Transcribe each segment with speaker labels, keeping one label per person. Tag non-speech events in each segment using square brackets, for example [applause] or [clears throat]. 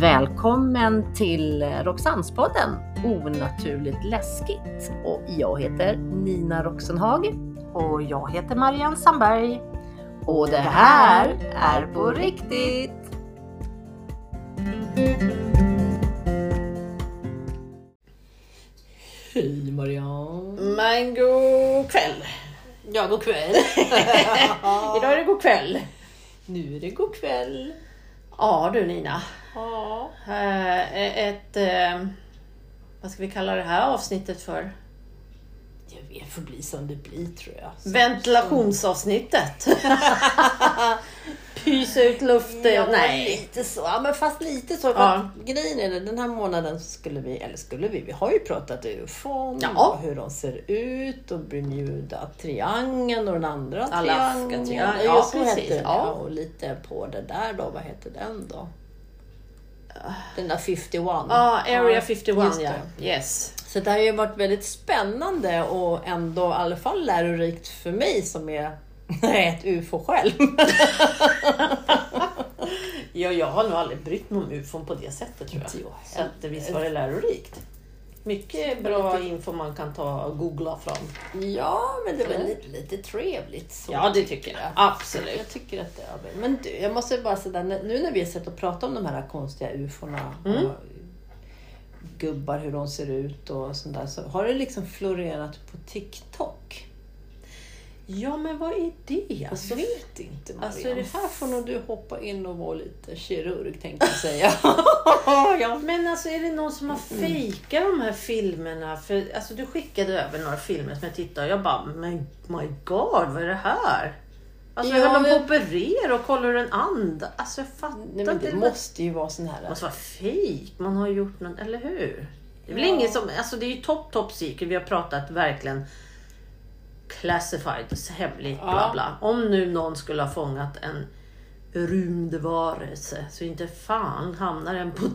Speaker 1: Välkommen till Roxannespodden Onaturligt läskigt. Och jag heter Nina Roxenhag.
Speaker 2: Och jag heter Marianne Sandberg.
Speaker 1: Och det här är på riktigt! Hej Marianne!
Speaker 2: Men god kväll.
Speaker 1: Ja, god kväll!
Speaker 2: [laughs]
Speaker 1: [laughs]
Speaker 2: Idag är det god kväll.
Speaker 1: Nu är det god kväll.
Speaker 2: Ja du Nina.
Speaker 1: Ja.
Speaker 2: Eh, Ett... eh, Vad ska vi kalla det här avsnittet för?
Speaker 1: Det får bli som det blir tror jag. [laughs]
Speaker 2: Ventilationsavsnittet. Pysa ut luft. eh,
Speaker 1: Ja,
Speaker 2: Nej.
Speaker 1: lite så. Ja, men fast lite så. För
Speaker 2: Ja.
Speaker 1: att Grejen är det, den här månaden så skulle vi, eller skulle vi, vi har ju pratat ufon
Speaker 2: Ja.
Speaker 1: och hur de ser ut och Bermuda-triangeln och den andra
Speaker 2: Alaska-triangeln.
Speaker 1: triangeln.
Speaker 2: Ja,
Speaker 1: Just det,
Speaker 2: precis.
Speaker 1: heter den,
Speaker 2: Ja.
Speaker 1: ja. Och lite på det där då, vad heter den då? Den där 51. Ah,
Speaker 2: Ja, Area 51
Speaker 1: Just
Speaker 2: ja.
Speaker 1: det.
Speaker 2: Yes.
Speaker 1: Så det har ju varit väldigt spännande och ändå i alla fall lärorikt för mig som är [laughs] ett ufo själv.
Speaker 2: [laughs] Ja, jag har nog aldrig brytt mig om ufon på det sättet tror jag.
Speaker 1: Inte jag heller.
Speaker 2: Så att, visst var det lärorikt. Mycket bra info man kan ta och googla fram.
Speaker 1: Ja, men det var
Speaker 2: Eller?
Speaker 1: lite, lite trevligt. Så.
Speaker 2: Ja, det tycker jag. Absolut.
Speaker 1: Jag tycker att det är... Men du, jag måste bara säga det, nu när vi har sett och pratat om de här konstiga ufona
Speaker 2: Mm.
Speaker 1: och gubbar, hur de ser ut och sånt där, så har det liksom florerat på TikTok.
Speaker 2: Ja, men vad är det?
Speaker 1: Jag vet inte Marianne.
Speaker 2: Alltså, är det-
Speaker 1: Här får nog du hoppa in och vara lite kirurg tänkte jag [laughs] säga.
Speaker 2: ja. Men alltså, är det någon som har
Speaker 1: Mm.
Speaker 2: fejkat de här filmerna? För, alltså, du skickade över några filmer som jag tittade och jag bara, men my god, vad är det här? Alltså,
Speaker 1: Ja,
Speaker 2: höll de på
Speaker 1: men-
Speaker 2: att operera och kollar hur den andas? Alltså, jag fattar
Speaker 1: Nej, men det
Speaker 2: inte.
Speaker 1: måste ju vara sån här...
Speaker 2: måste vara fejk. Man har gjort någon, eller hur? Det är väl
Speaker 1: Ja.
Speaker 2: ingen som, alltså det är ju top top secret. Vi har pratat verkligen classified, så hemligt, bla
Speaker 1: Ja.
Speaker 2: bla. Om nu någon skulle ha fångat en rymdvarelse så inte fan hamnar den på Mm.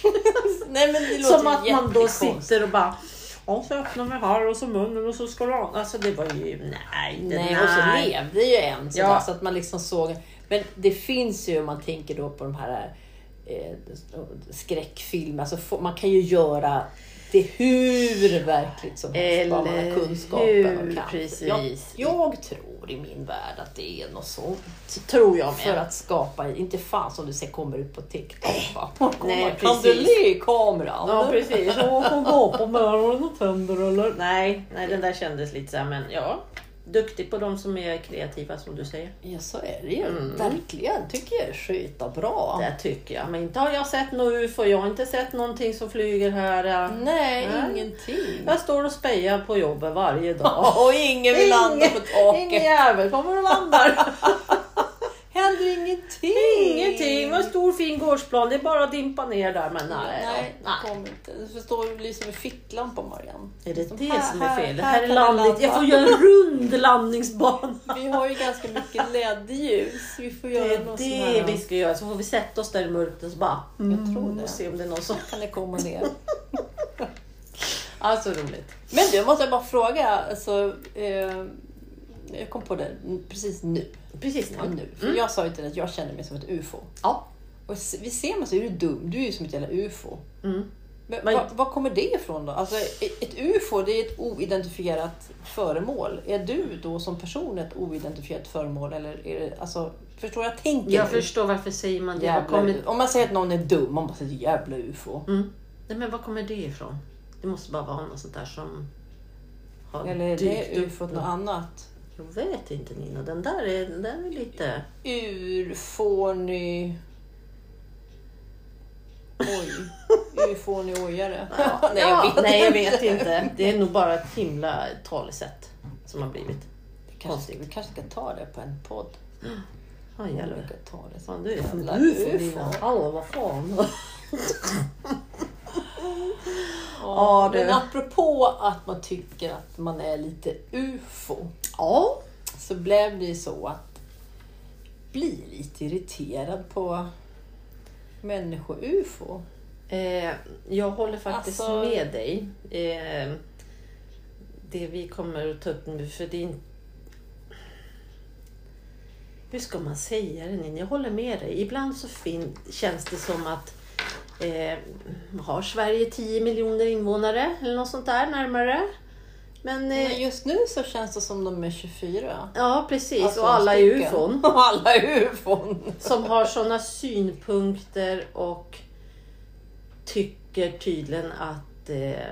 Speaker 1: [laughs]
Speaker 2: [laughs]
Speaker 1: Nej, men det låter
Speaker 2: Som att man då
Speaker 1: jättekonstigt.
Speaker 2: sitter och bara Ja, så öppnar vi här och så munnen och så ska du an-" Alltså det var ju, nej, det,
Speaker 1: Nej, och så levde ju en sådär,
Speaker 2: Ja.
Speaker 1: så att man liksom såg. Men det finns ju om man tänker då på de här eh, skräckfilmer, alltså, få- man kan ju göra det hur verkligt som helst, bara man
Speaker 2: Eller
Speaker 1: har kunskapen
Speaker 2: hur,
Speaker 1: och kan.
Speaker 2: precis.
Speaker 1: Jag, jag tror i min värld att det är något sånt. Tror jag För att skapa, inte fan som du säger kommer ut på TikTok. va?
Speaker 2: Nej,
Speaker 1: kan du
Speaker 2: precis.
Speaker 1: le i kameran?
Speaker 2: Ja precis. Och hon gapar med öronen och tänder eller? Nej, nej den där kändes lite så här, men ja. Duktig på de som är kreativa som du säger.
Speaker 1: Ja, så är det ju. Verkligen, tycker jag är skita bra.
Speaker 2: Det tycker jag. Men inte har jag sett något ufo. Jag har inte sett någonting som flyger här. ja.
Speaker 1: Nej,
Speaker 2: Nej.
Speaker 1: ingenting.
Speaker 2: Jag står och spejar på jobbet varje dag.
Speaker 1: [laughs] Och ingen vill landa på
Speaker 2: Ingen
Speaker 1: taket.
Speaker 2: jävel kommer och landar.
Speaker 1: Händer ingenting.
Speaker 2: [laughs] Ingenting. Det var en stor fin gårdsplan. Det är bara att dimpa ner där. Men nej.
Speaker 1: Nej,
Speaker 2: ja,
Speaker 1: det kommer inte. Du förstår, du lyser med ficklampa Marianne.
Speaker 2: Är det
Speaker 1: Som
Speaker 2: det
Speaker 1: här,
Speaker 2: som är fel? Det
Speaker 1: här
Speaker 2: här är
Speaker 1: kan vi
Speaker 2: landigt. Jag
Speaker 1: landa.
Speaker 2: får göra en rund landningsbana.
Speaker 1: Vi har ju ganska mycket LED-ljus. Vi får
Speaker 2: Det
Speaker 1: göra
Speaker 2: är
Speaker 1: något
Speaker 2: det
Speaker 1: sån
Speaker 2: vi
Speaker 1: här.
Speaker 2: ska göra, så får vi sätta oss där i mörkret och så bara
Speaker 1: Jag tror
Speaker 2: och
Speaker 1: det.
Speaker 2: Mm. se om det är någon som...
Speaker 1: Kan det komma ner.
Speaker 2: Alltså roligt.
Speaker 1: Men du, måste jag bara fråga. Alltså, eh, jag kom på det precis nu.
Speaker 2: Precis
Speaker 1: Ja, nu. För
Speaker 2: Mm.
Speaker 1: Jag sa ju till dig att jag känner mig som ett UFO.
Speaker 2: Ja.
Speaker 1: Och s- vi ser mig så är du dum. Du är ju som ett jävla UFO.
Speaker 2: Mm.
Speaker 1: Men,
Speaker 2: Men-
Speaker 1: var, var kommer det ifrån då? Alltså, e- ett UFO det är ett oidentifierat föremål. Är du då som person ett oidentifierat föremål? Eller är det, alltså, förstår jag tänker
Speaker 2: Jag
Speaker 1: nu?
Speaker 2: förstår varför säger man det. Var
Speaker 1: Jävla,
Speaker 2: kommer...
Speaker 1: Om man säger att någon är dum, man bara säger jävla UFO.
Speaker 2: Mm. Nej, men var kommer det ifrån? Det måste bara vara något sånt där som har
Speaker 1: Eller är
Speaker 2: Mm. dykt
Speaker 1: det
Speaker 2: upp.
Speaker 1: UFO något annat?
Speaker 2: Jag vet inte Nina, den där är, den där är [laughs] lite...
Speaker 1: Urfånig... Oj. Urfånig ojare. nej, jag vet
Speaker 2: nej, jag
Speaker 1: inte. [laughs]
Speaker 2: vet inte. Det är nog bara ett himla talesätt som har blivit.
Speaker 1: Kanske, vi kanske ska ta det på en podd.
Speaker 2: Ja, jävlar.
Speaker 1: Olika tal.
Speaker 2: Fan, du är som
Speaker 1: Jävla
Speaker 2: ett ufo.
Speaker 1: ufo.
Speaker 2: Nina. Hallå, vad fan.
Speaker 1: Ja,
Speaker 2: det-
Speaker 1: men apropå att man tycker att man är lite UFO
Speaker 2: Ja.
Speaker 1: så blev det ju så att bli lite irriterad på människo-UFO.
Speaker 2: Eh, jag håller faktiskt
Speaker 1: Alltså-
Speaker 2: med dig. Eh, det vi kommer att ta upp nu, för det är inte... Hur ska man säga det Ninni? Jag håller med dig. Ibland så fin- känns det som att eh, har Sverige 10 miljoner invånare eller något sånt där närmare? Men eh,
Speaker 1: Men just nu så känns det som de är 24.
Speaker 2: ja, precis.
Speaker 1: Alltså,
Speaker 2: och alla är
Speaker 1: stycken.
Speaker 2: ufon.
Speaker 1: Och [laughs] alla är ufon.
Speaker 2: som har sådana synpunkter och tycker tydligen att eh,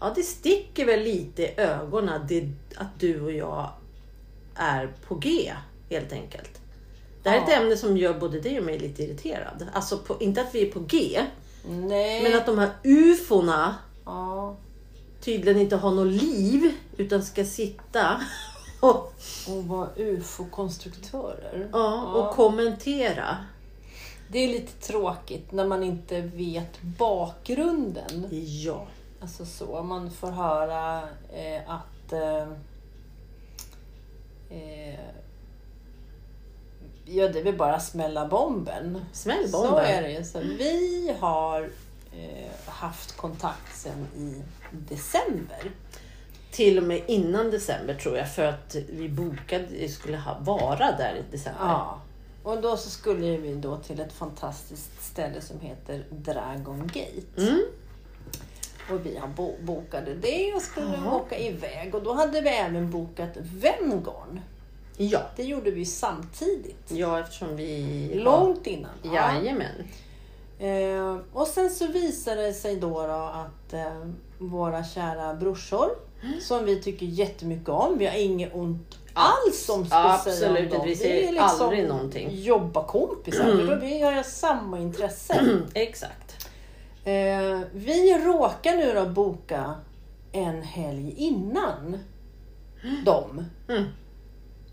Speaker 2: ja, det sticker väl lite i ögonen det, att du och jag är på G helt enkelt. Det här är ett
Speaker 1: Ja.
Speaker 2: ämne som gör både dig och mig lite irriterad. Alltså på, inte att vi är på G,
Speaker 1: Eh. Nej.
Speaker 2: men att de här ufona
Speaker 1: Ja.
Speaker 2: tydligen inte har något liv utan ska sitta [laughs] och,
Speaker 1: Och vara ufo-konstruktörer.
Speaker 2: ja, och kommentera.
Speaker 1: Det är lite tråkigt när man inte vet bakgrunden.
Speaker 2: Ja.
Speaker 1: Alltså så, man får höra eh, att eh, eh, Ja, det är väl bara smälla bomben.
Speaker 2: Smäll
Speaker 1: Så är
Speaker 2: bomben.
Speaker 1: det ju. Så vi har eh, haft kontakt sedan i december.
Speaker 2: Till och med innan december tror jag för att vi bokade vi skulle ha, vara där i december.
Speaker 1: Ja. Och då så skulle ju vi då till ett fantastiskt ställe som heter Dragon Gate.
Speaker 2: Mm.
Speaker 1: Och vi har bo- bokade det och skulle
Speaker 2: Ja.
Speaker 1: åka iväg. Och då hade vi även bokat Venngarn.
Speaker 2: Ja.
Speaker 1: Det gjorde vi samtidigt.
Speaker 2: ja, eftersom vi...
Speaker 1: Långt innan.
Speaker 2: Ja. Jajamän. [clears throat]
Speaker 1: Eh, och sen så visade det sig då, då att eh, våra kära brorsor,
Speaker 2: Mm.
Speaker 1: som vi tycker jättemycket om, vi har inget ont alls som ska
Speaker 2: Absolut
Speaker 1: säga om
Speaker 2: inte,
Speaker 1: dem. liksom
Speaker 2: vi säger aldrig någonting. Mm.
Speaker 1: jobbarkompisar, för då vi har ju samma
Speaker 2: [clears throat]
Speaker 1: intresse.
Speaker 2: Exakt.
Speaker 1: eh, vi råkar nu då boka en helg innan dem.
Speaker 2: Mm.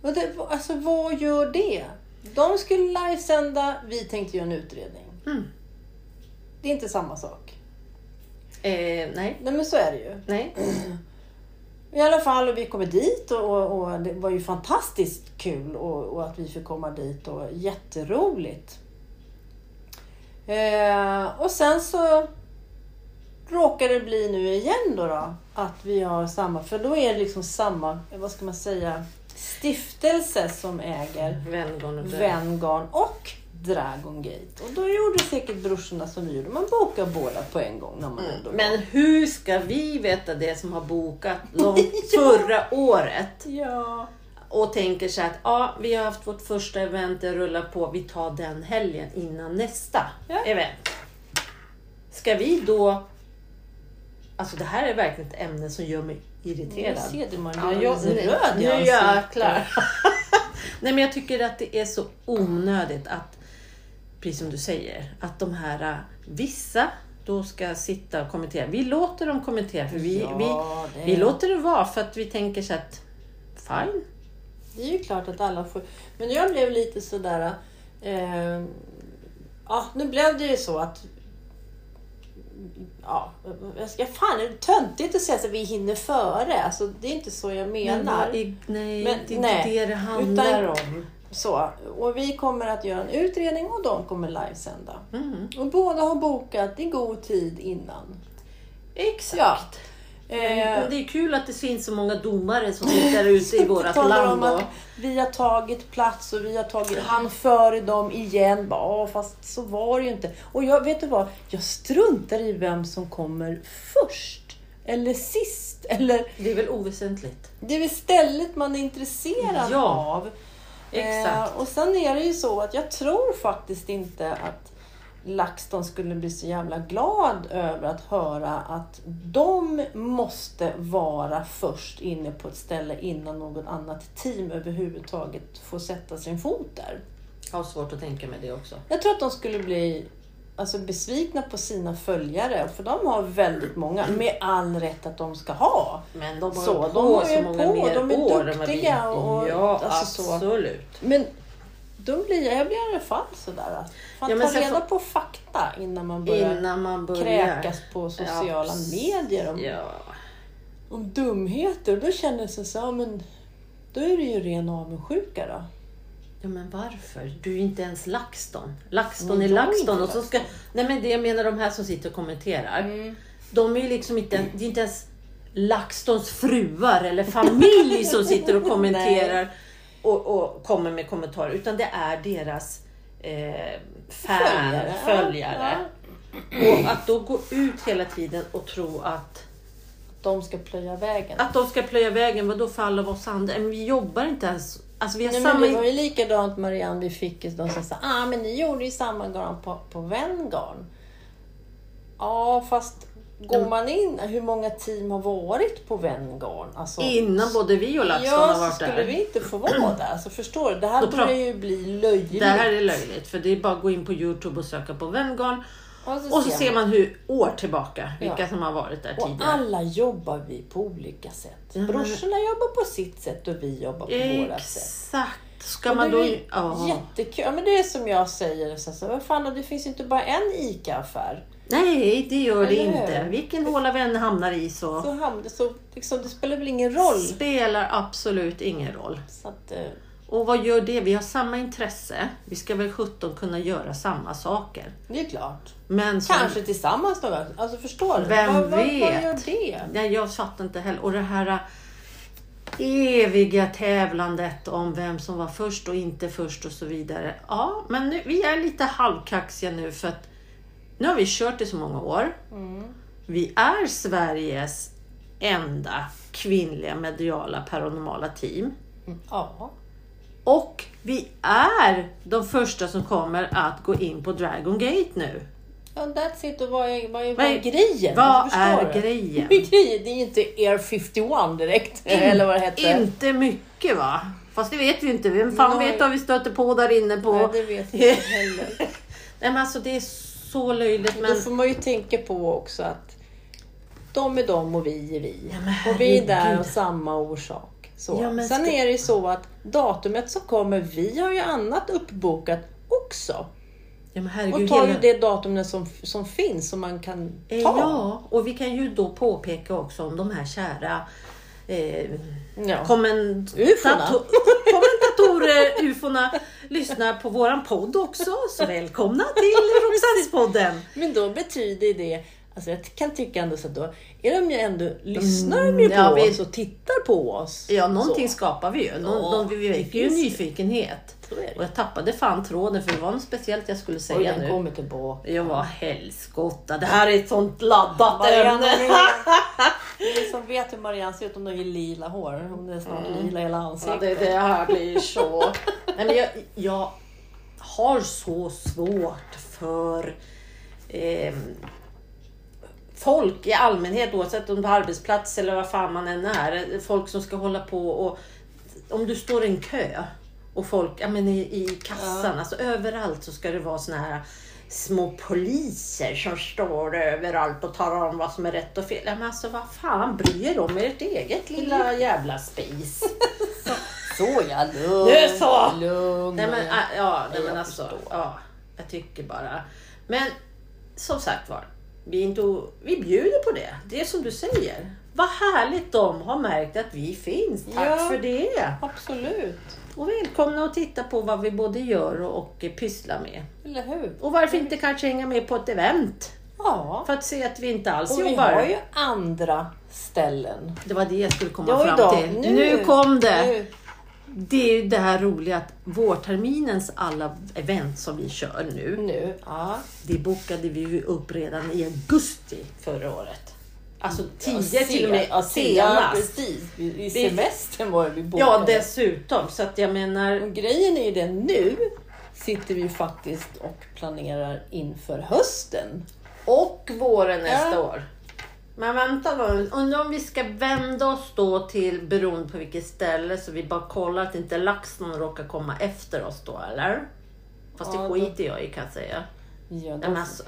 Speaker 1: Och det, alltså vad gör det? De skulle livesända, vi tänkte göra en utredning.
Speaker 2: Mm.
Speaker 1: Det är inte samma sak.
Speaker 2: Eh, nej.
Speaker 1: Nej men så är det ju.
Speaker 2: Nej.
Speaker 1: I alla fall, och vi kommer dit och, och, och det var ju fantastiskt kul och, och att vi fick komma dit och jätteroligt. Eh, och sen så råkar det bli nu igen då, då att vi har samma, för då är det liksom samma, vad ska man säga, stiftelse som äger
Speaker 2: Vängarn och död.
Speaker 1: Venngarn och Dragon Gate. Och då gjorde säkert brorsorna som vi gjorde, man bokar båda på en gång när man ändå
Speaker 2: Men hur ska vi veta det som har bokat långt förra året
Speaker 1: Ja.
Speaker 2: och tänker så här att ja, vi har haft vårt första event, det rullar på, vi tar den helgen innan nästa
Speaker 1: Ja.
Speaker 2: event. Ska vi då... Alltså det här är verkligen ett ämne som gör mig irriterad.
Speaker 1: Nu ser du man
Speaker 2: Ja,
Speaker 1: blir
Speaker 2: jag,
Speaker 1: alldeles
Speaker 2: nu,
Speaker 1: röd
Speaker 2: nu
Speaker 1: i ansiktet.
Speaker 2: jäklar. [laughs] Nej men jag tycker att det är så onödigt att, precis som du säger, att de här eh, vissa då ska sitta och kommentera. Vi låter dem kommentera för vi,
Speaker 1: Ja, det-
Speaker 2: vi, vi låter det vara för att vi tänker så att fine.
Speaker 1: Det är ju klart att alla får. Men jag blev lite sådär... Eh, ja, nu blev det ju så att... Ja, jag ska, fan är det töntigt att säga att vi hinner före? Alltså, det är inte så jag
Speaker 2: Men
Speaker 1: menar.
Speaker 2: vad är- nej,
Speaker 1: Men
Speaker 2: det är
Speaker 1: nej,
Speaker 2: inte det det handlar
Speaker 1: utan-
Speaker 2: om.
Speaker 1: Så, och vi kommer att göra en utredning och de kommer livesända.
Speaker 2: Mm,
Speaker 1: Och båda har bokat i god tid innan.
Speaker 2: exakt.
Speaker 1: Eh,
Speaker 2: Men Mm, det är kul att det finns så många domare som
Speaker 1: [laughs]
Speaker 2: sitter ute i vårt
Speaker 1: talar
Speaker 2: land.
Speaker 1: om
Speaker 2: Och,
Speaker 1: att vi har tagit plats och vi har tagit han före dem igen. Bara, "Ja, fast så var det ju inte. Och jag, vet du vad? Jag struntar i vem som kommer först. Eller sist. Eller,
Speaker 2: det är väl oväsentligt.
Speaker 1: det är väl stället man är intresserad
Speaker 2: Ja,
Speaker 1: av.
Speaker 2: Exakt.
Speaker 1: Eh, och sen är det ju så att jag tror faktiskt inte att LaxTon skulle bli så jävla glad över att höra att de måste vara först inne på ett ställe innan något annat team överhuvudtaget får sätta sin fot där.
Speaker 2: Jag har svårt att tänka mig det också.
Speaker 1: Jag tror att de skulle bli alltså, besvikna på sina följare, för de har väldigt många, med all rätt att de ska ha.
Speaker 2: Men de har
Speaker 1: Så,
Speaker 2: ju
Speaker 1: de
Speaker 2: på
Speaker 1: har ju
Speaker 2: så många
Speaker 1: på,
Speaker 2: mer
Speaker 1: de är
Speaker 2: år än vad
Speaker 1: duktiga
Speaker 2: vi.
Speaker 1: och-
Speaker 2: ja,
Speaker 1: alltså så.
Speaker 2: absolut.
Speaker 1: Men då blir jag, jag blir i alla fall sådär att fan,
Speaker 2: Ja, men
Speaker 1: ta
Speaker 2: sen
Speaker 1: reda
Speaker 2: får-
Speaker 1: på fakta innan man börjar
Speaker 2: Innan man börjar.
Speaker 1: kräkas på sociala
Speaker 2: Ja,
Speaker 1: medier om,
Speaker 2: Ja.
Speaker 1: om dumheter. Och då känner jag så här, ja, men då är det ju ren avundsjuka då.
Speaker 2: ja, men varför? Du är inte ens LaxTon. LaxTon
Speaker 1: Nej,
Speaker 2: är
Speaker 1: jag är
Speaker 2: LaxTon.
Speaker 1: inte
Speaker 2: Och så ska... Nej, men det jag menar de här som sitter och kommenterar.
Speaker 1: Mm.
Speaker 2: De är ju liksom inte, det är
Speaker 1: [laughs]
Speaker 2: inte ens LaxTons fruar eller familj som sitter och kommenterar. och, och kommer med kommentarer utan det är deras eh, fan,
Speaker 1: Följare,
Speaker 2: följare.
Speaker 1: ja,
Speaker 2: Och att då gå ut hela tiden och tro att,
Speaker 1: De ska plöja vägen.
Speaker 2: att de ska plöja vägen, vadå fall av oss andra? Men vi jobbar inte ens, alltså vi har
Speaker 1: Nej, men
Speaker 2: samma...
Speaker 1: det var ju likadant Marianne vi fick. De sa så här, ah, men ni gjorde ju samma garn på, på Venngarn. Ja, fast går man in, hur många team har varit på Venngarn? Alltså,
Speaker 2: Innan både vi och LaxTon
Speaker 1: ja,
Speaker 2: har
Speaker 1: så
Speaker 2: varit
Speaker 1: skulle
Speaker 2: där.
Speaker 1: vi inte få vara där. Alltså, förstår du? Det här
Speaker 2: Då pra-
Speaker 1: börjar ju bli löjligt.
Speaker 2: Det här är löjligt för det är bara att gå in på Youtube och söka på Venngarn
Speaker 1: och så,
Speaker 2: och så ser man hur år tillbaka vilka
Speaker 1: Ja.
Speaker 2: som har varit där
Speaker 1: Och
Speaker 2: tidigare.
Speaker 1: alla jobbar vi på olika sätt.
Speaker 2: Ja, men-
Speaker 1: Brorsorna jobbar på sitt sätt och vi jobbar på våra sätt.
Speaker 2: Exakt. Ska man
Speaker 1: det
Speaker 2: då...
Speaker 1: är ju
Speaker 2: Ja.
Speaker 1: Jättekul. Ja, men det är som jag säger, så så, vad fan, det finns ju inte bara en ICA-affär.
Speaker 2: Nej, det gör det
Speaker 1: Eller hur?
Speaker 2: inte. Vilken håla vi än hamnar i så
Speaker 1: Så, ham- så liksom, det spelar väl ingen roll.
Speaker 2: spelar absolut ingen roll.
Speaker 1: Så att, eh,
Speaker 2: Och vad gör det? Vi har samma intresse. Vi ska väl 17 kunna göra samma saker.
Speaker 1: det är klart.
Speaker 2: Men som,
Speaker 1: Kanske tillsammans någon gång. Alltså förstår du?
Speaker 2: Vem
Speaker 1: vad, vad, vad
Speaker 2: vet?
Speaker 1: gör det?
Speaker 2: Nej, jag fattar inte heller. Och det här äh, eviga tävlandet om vem som var först och inte först och så vidare. Ja, men nu, vi är lite halvkaxiga nu för att nu har vi kört i så många år. Vi är Sveriges enda kvinnliga mediala paranormala team.
Speaker 1: Ja.
Speaker 2: Och vi är de första som kommer att gå in på Dragon Gate nu.
Speaker 1: Ja, That's it. Och vad är, vad är, vad
Speaker 2: Vad
Speaker 1: är
Speaker 2: är-
Speaker 1: grejen?
Speaker 2: Vad
Speaker 1: Alltså, förstår
Speaker 2: är
Speaker 1: du?
Speaker 2: grejen?
Speaker 1: Vad är grejen? Det är ju inte Air 51 direkt. eller vad det hette.
Speaker 2: Inte mycket va? Fast det vet vi inte. Vem fan
Speaker 1: Nej.
Speaker 2: vet vad vi stöter på där inne på?
Speaker 1: Nej, det vet jag inte heller.
Speaker 2: Nej men alltså det är så löjligt.
Speaker 1: Då
Speaker 2: [laughs] Men...
Speaker 1: får man ju tänka på också att de är de och vi är vi.
Speaker 2: men
Speaker 1: och vi är där
Speaker 2: herregud.
Speaker 1: av samma orsak. Så.
Speaker 2: Ja, men
Speaker 1: Sen
Speaker 2: ska-
Speaker 1: är det ju så att datumet som kommer, vi har ju annat uppbokat också.
Speaker 2: Ja, men
Speaker 1: Och
Speaker 2: herregud,
Speaker 1: tar ju
Speaker 2: hela-
Speaker 1: det datumet som, som finns som man kan ta.
Speaker 2: Eh, Ja, och vi kan ju då påpeka också om de här kära eh,
Speaker 1: Ja.
Speaker 2: komment- [laughs]
Speaker 1: Ufona.
Speaker 2: dato- kommentatorer, ufona, lyssnar på våran podd också. Så
Speaker 1: [laughs]
Speaker 2: välkomna till Roxannes podden.
Speaker 1: Men då betyder det, alltså jag kan tycka ändå så att då är de ju ändå, lyssnar de ju på
Speaker 2: Mm, ja, vi-
Speaker 1: oss och tittar på oss.
Speaker 2: Ja, någonting
Speaker 1: Så.
Speaker 2: skapar vi ju.
Speaker 1: Ja,
Speaker 2: Någon, någon, vi
Speaker 1: det
Speaker 2: väcker ju
Speaker 1: finns ju.
Speaker 2: nyfikenhet.
Speaker 1: Så är det.
Speaker 2: Och jag tappade fan tråden för det var något speciellt jag skulle
Speaker 1: Och
Speaker 2: säga
Speaker 1: den
Speaker 2: nu.
Speaker 1: kommer tillbaka.
Speaker 2: Jag var helskotta, det här är ett sånt laddat
Speaker 1: Marianne,
Speaker 2: ämne. [laughs]
Speaker 1: ni, ni som vet hur Marianne ser ut, om hon har lila hår, om det är snart lila i hela
Speaker 2: Mm. Ja,
Speaker 1: ansiktet.
Speaker 2: det, det här blir så... Nej, men jag, jag har så svårt för ehm, folk i allmänhet, oavsett om det är arbetsplats eller vad fan man än är. Folk som ska hålla på och... Om du står i en kö och folk ja, men i, i kassan, alltså överallt så ska det vara såna här små poliser som står överallt och talar om vad som är rätt och fel. Ja, men alltså vad fan bryr er om ert eget lilla jävla spis?
Speaker 1: Så ja, lugn.
Speaker 2: Nu så!
Speaker 1: Lugn.
Speaker 2: Nej men, ah, ja, nej,
Speaker 1: jag
Speaker 2: men alltså,
Speaker 1: förstår.
Speaker 2: ja, jag tycker bara. Men som sagt var, vi, är inte, o- vi bjuder på det. Det är som du säger. Vad härligt de har märkt att vi finns. Tack
Speaker 1: Ja.
Speaker 2: för det.
Speaker 1: Absolut.
Speaker 2: Och välkomna att titta på vad vi både gör och, och pysslar med.
Speaker 1: Eller hur?
Speaker 2: Och varför inte kanske hänga med på ett event?
Speaker 1: Ja.
Speaker 2: För att se att vi inte alls
Speaker 1: Och vi
Speaker 2: jobbar.
Speaker 1: har ju andra ställen.
Speaker 2: Det var det jag skulle komma
Speaker 1: Ja,
Speaker 2: fram
Speaker 1: idag.
Speaker 2: till.
Speaker 1: Nu.
Speaker 2: Nu, kom det!
Speaker 1: Nu.
Speaker 2: Det är ju det här roliga att vårterminens alla event som vi kör nu.
Speaker 1: Nu. Ja.
Speaker 2: Det bokade vi ju upp redan i augusti förra året. Alltså tidigare till och med
Speaker 1: Ja, se- ja,
Speaker 2: senast.
Speaker 1: precis. I
Speaker 2: Vi-
Speaker 1: semestern var det vi bokade.
Speaker 2: Ja, dessutom. Så att jag menar,
Speaker 1: Och Grejen är ju det nu sitter vi ju faktiskt och planerar inför hösten.
Speaker 2: och våren nästa
Speaker 1: Ja.
Speaker 2: år. Men vänta då, undrar om vi ska vända oss då till beroende på vilket ställe så vi bara kollar att inte LaxTon råkar komma efter oss då eller? Fast det
Speaker 1: Ja, då-
Speaker 2: skiter jag i kan jag säga.
Speaker 1: Ja,
Speaker 2: Nej, men
Speaker 1: då
Speaker 2: alltså,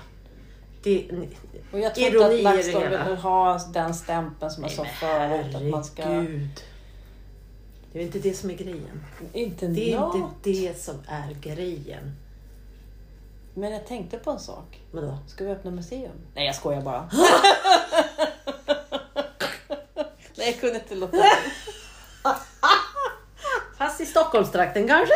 Speaker 2: det, ni,
Speaker 1: Och jag tror
Speaker 2: Ironi
Speaker 1: inte
Speaker 2: i
Speaker 1: att
Speaker 2: det
Speaker 1: LaxTon
Speaker 2: hela.
Speaker 1: vill ha den stämpeln som jag sa förut. Att man ska...
Speaker 2: herregud. Det är ju inte det som är grejen.
Speaker 1: Inte
Speaker 2: Det är
Speaker 1: nå-
Speaker 2: inte det som är grejen.
Speaker 1: Men jag tänkte på en sak.
Speaker 2: Vadå?
Speaker 1: Ska vi öppna museum? Nej, jag skojar
Speaker 2: [laughs]
Speaker 1: bara. Nej, jag kunde inte
Speaker 2: [laughs]
Speaker 1: låta bli.
Speaker 2: Fast i Stockholmstrakten kanske?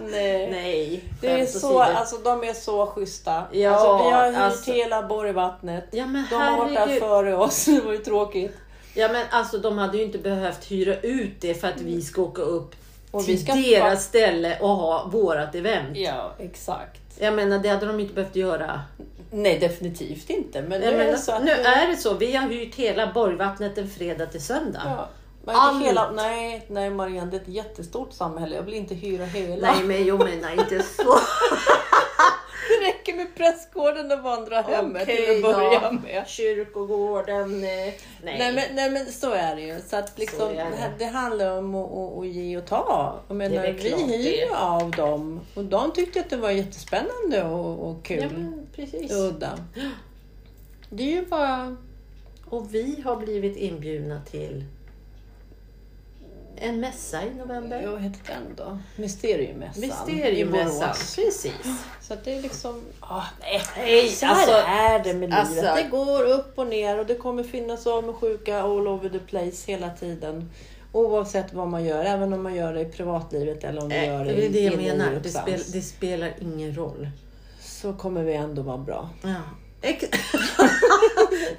Speaker 1: Nej.
Speaker 2: Nej.
Speaker 1: Det är
Speaker 2: skämt
Speaker 1: så,
Speaker 2: åsido.
Speaker 1: alltså, de är så schyssta.
Speaker 2: Ja,
Speaker 1: alltså, vi har hyrt
Speaker 2: alltså.
Speaker 1: hela Borgvattnet.
Speaker 2: Ja men
Speaker 1: De har varit där
Speaker 2: herregud.
Speaker 1: före oss, [laughs] det var ju tråkigt.
Speaker 2: Ja men alltså de hade ju inte behövt hyra ut det för att vi ska åka upp
Speaker 1: Mm. Och vi
Speaker 2: till
Speaker 1: ska
Speaker 2: deras ställe och ha vårat event.
Speaker 1: Ja, exakt.
Speaker 2: Jag menar, det hade de inte behövt göra.
Speaker 1: Nej, definitivt inte. Men nu
Speaker 2: Jag
Speaker 1: är
Speaker 2: menar,
Speaker 1: det så att...
Speaker 2: nu är det så. Vi har hyrt hela Borgvattnet en fredag till söndag.
Speaker 1: ja. Men
Speaker 2: Allt.
Speaker 1: hela, nej, nej Marianne, det är ett jättestort samhälle. Jag vill inte hyra hela.
Speaker 2: Nej, men jag menar inte så.
Speaker 1: [laughs] Det räcker med prästgården och vandrarhemmet
Speaker 2: Okej
Speaker 1: till att börja
Speaker 2: då.
Speaker 1: med.
Speaker 2: Kyrkogården. eh, Nej.
Speaker 1: Nej men, nej men så är det ju. Så att liksom,
Speaker 2: Så är det.
Speaker 1: det. här- det handlar om att, att, att ge och ta. Jag menar,
Speaker 2: väl
Speaker 1: vi
Speaker 2: klart det.
Speaker 1: hyr ju av dem och de tyckte att det var jättespännande och, och kul.
Speaker 2: ja, men precis.
Speaker 1: och udda. Det är ju bara...
Speaker 2: Och vi har blivit inbjudna till en mässa i november.
Speaker 1: Vad heter den då? Mysteriummässan. i
Speaker 2: Mysteriummässan.
Speaker 1: Borås.
Speaker 2: Precis.
Speaker 1: Så att det är liksom... Ah,
Speaker 2: Nej,
Speaker 1: Så här
Speaker 2: alltså,
Speaker 1: är det med
Speaker 2: alltså-
Speaker 1: livet. Det går upp och ner och det kommer finnas avundsjuka all over the place hela tiden. Oavsett vad man gör, även om man gör det i privatlivet eller om man
Speaker 2: eh,
Speaker 1: gör det,
Speaker 2: det är det jag
Speaker 1: inne i
Speaker 2: menar. Det,
Speaker 1: gruppsams,
Speaker 2: spel, det spelar ingen roll.
Speaker 1: Så kommer vi ändå vara bra.
Speaker 2: Ja.
Speaker 1: [laughs]
Speaker 2: Ex-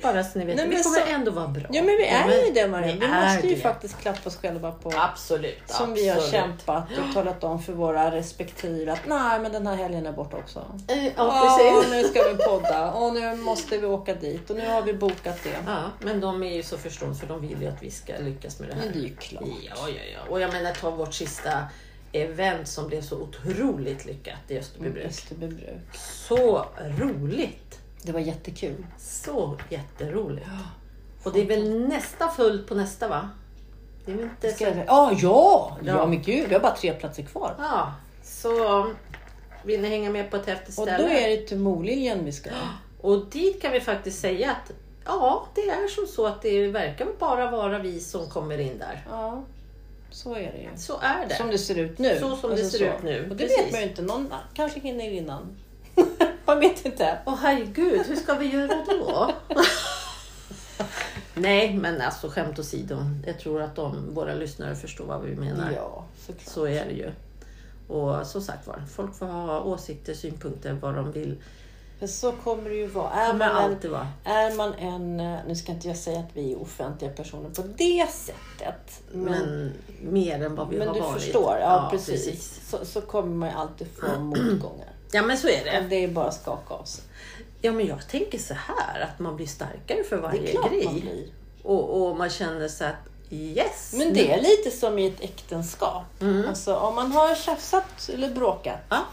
Speaker 2: Bara så ni vet,
Speaker 1: Nej,
Speaker 2: vi
Speaker 1: men
Speaker 2: kommer
Speaker 1: så-
Speaker 2: ändå vara bra.
Speaker 1: Ja men vi är ju det Maria.
Speaker 2: vi
Speaker 1: Vi
Speaker 2: är
Speaker 1: måste ju
Speaker 2: det.
Speaker 1: faktiskt klappa oss själva på
Speaker 2: Absolut.
Speaker 1: som vi har kämpat och talat om för våra respektive att nej men den här helgen är borta också.
Speaker 2: Eh, Ja,
Speaker 1: Ja,
Speaker 2: precis.
Speaker 1: nu ska vi podda och nu måste vi åka dit och nu har vi bokat det.
Speaker 2: Ja, men de är ju så förstående för de vill ju att vi ska lyckas med det
Speaker 1: Men det är
Speaker 2: här.
Speaker 1: ju klart.
Speaker 2: Ja, ja, ja. Och jag menar ta vårt sista event som blev så otroligt lyckat i Österbybruk.
Speaker 1: Mm, Österbybruk.
Speaker 2: Så roligt!
Speaker 1: Det var jättekul.
Speaker 2: Så jätteroligt. Och det är väl nästa fullt på nästa va? Det är väl inte
Speaker 1: Ska
Speaker 2: så...
Speaker 1: jag säga- ah, ja!
Speaker 2: Ja.
Speaker 1: ja! men gud, vi har bara tre platser kvar.
Speaker 2: Ja, så vill ni hänga med på ett häftigt
Speaker 1: Och då
Speaker 2: ställe?
Speaker 1: är det till Moliljen vi ska.
Speaker 2: Och dit kan vi faktiskt säga att ja, det är som så att det verkar bara vara vi som kommer in där.
Speaker 1: Ja, så är det ju.
Speaker 2: Så är det.
Speaker 1: Som det ser ut nu. Alltså
Speaker 2: Så som det ser ut nu,
Speaker 1: Och det
Speaker 2: precis.
Speaker 1: vet man ju inte. Någon kanske hinner innan. [laughs] man vet inte.
Speaker 2: Åh herregud, hur ska vi göra då? Nej, men alltså skämt åsido. Jag tror att de, våra lyssnare förstår vad vi menar.
Speaker 1: Ja, såklart.
Speaker 2: Så är det ju. Och som sagt var, folk får ha åsikter, synpunkter, vad de vill.
Speaker 1: Men så kommer det ju vara. Är
Speaker 2: Kommer
Speaker 1: man, en,
Speaker 2: alltid vara.
Speaker 1: är man en... eh, Nu ska inte jag säga att vi är offentliga personer på det sättet. Men,
Speaker 2: Men mer än vad vi
Speaker 1: men
Speaker 2: har
Speaker 1: du
Speaker 2: varit.
Speaker 1: förstår. Ja, precis. Så, så kommer man ju alltid
Speaker 2: [clears throat]
Speaker 1: få motgångar.
Speaker 2: Ja, men så är det.
Speaker 1: Men det är bara att skaka av sig.
Speaker 2: Ja, men jag tänker så här att man blir starkare för varje
Speaker 1: Det är klart
Speaker 2: grej.
Speaker 1: man blir.
Speaker 2: Och, och man känner så att yes.
Speaker 1: Men det är lite som i ett äktenskap. Alltså, om man har tjafsat eller bråkat,
Speaker 2: Mm.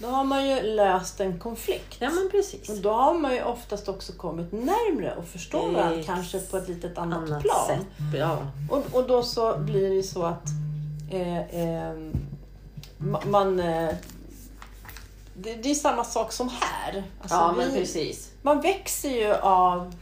Speaker 2: Ja.
Speaker 1: då har man ju löst en konflikt.
Speaker 2: Ja, men precis.
Speaker 1: Och då har man ju oftast också kommit närmre och förstår varandra,
Speaker 2: Ex-
Speaker 1: kanske på ett litet annat,
Speaker 2: Annat
Speaker 1: plan.
Speaker 2: sätt. Ja.
Speaker 1: Och, och då så blir det ju så att eh, eh, ma- man... Eh, det, det är samma sak som här. Alltså,
Speaker 2: ja,
Speaker 1: vi-
Speaker 2: men precis.
Speaker 1: Man växer ju av,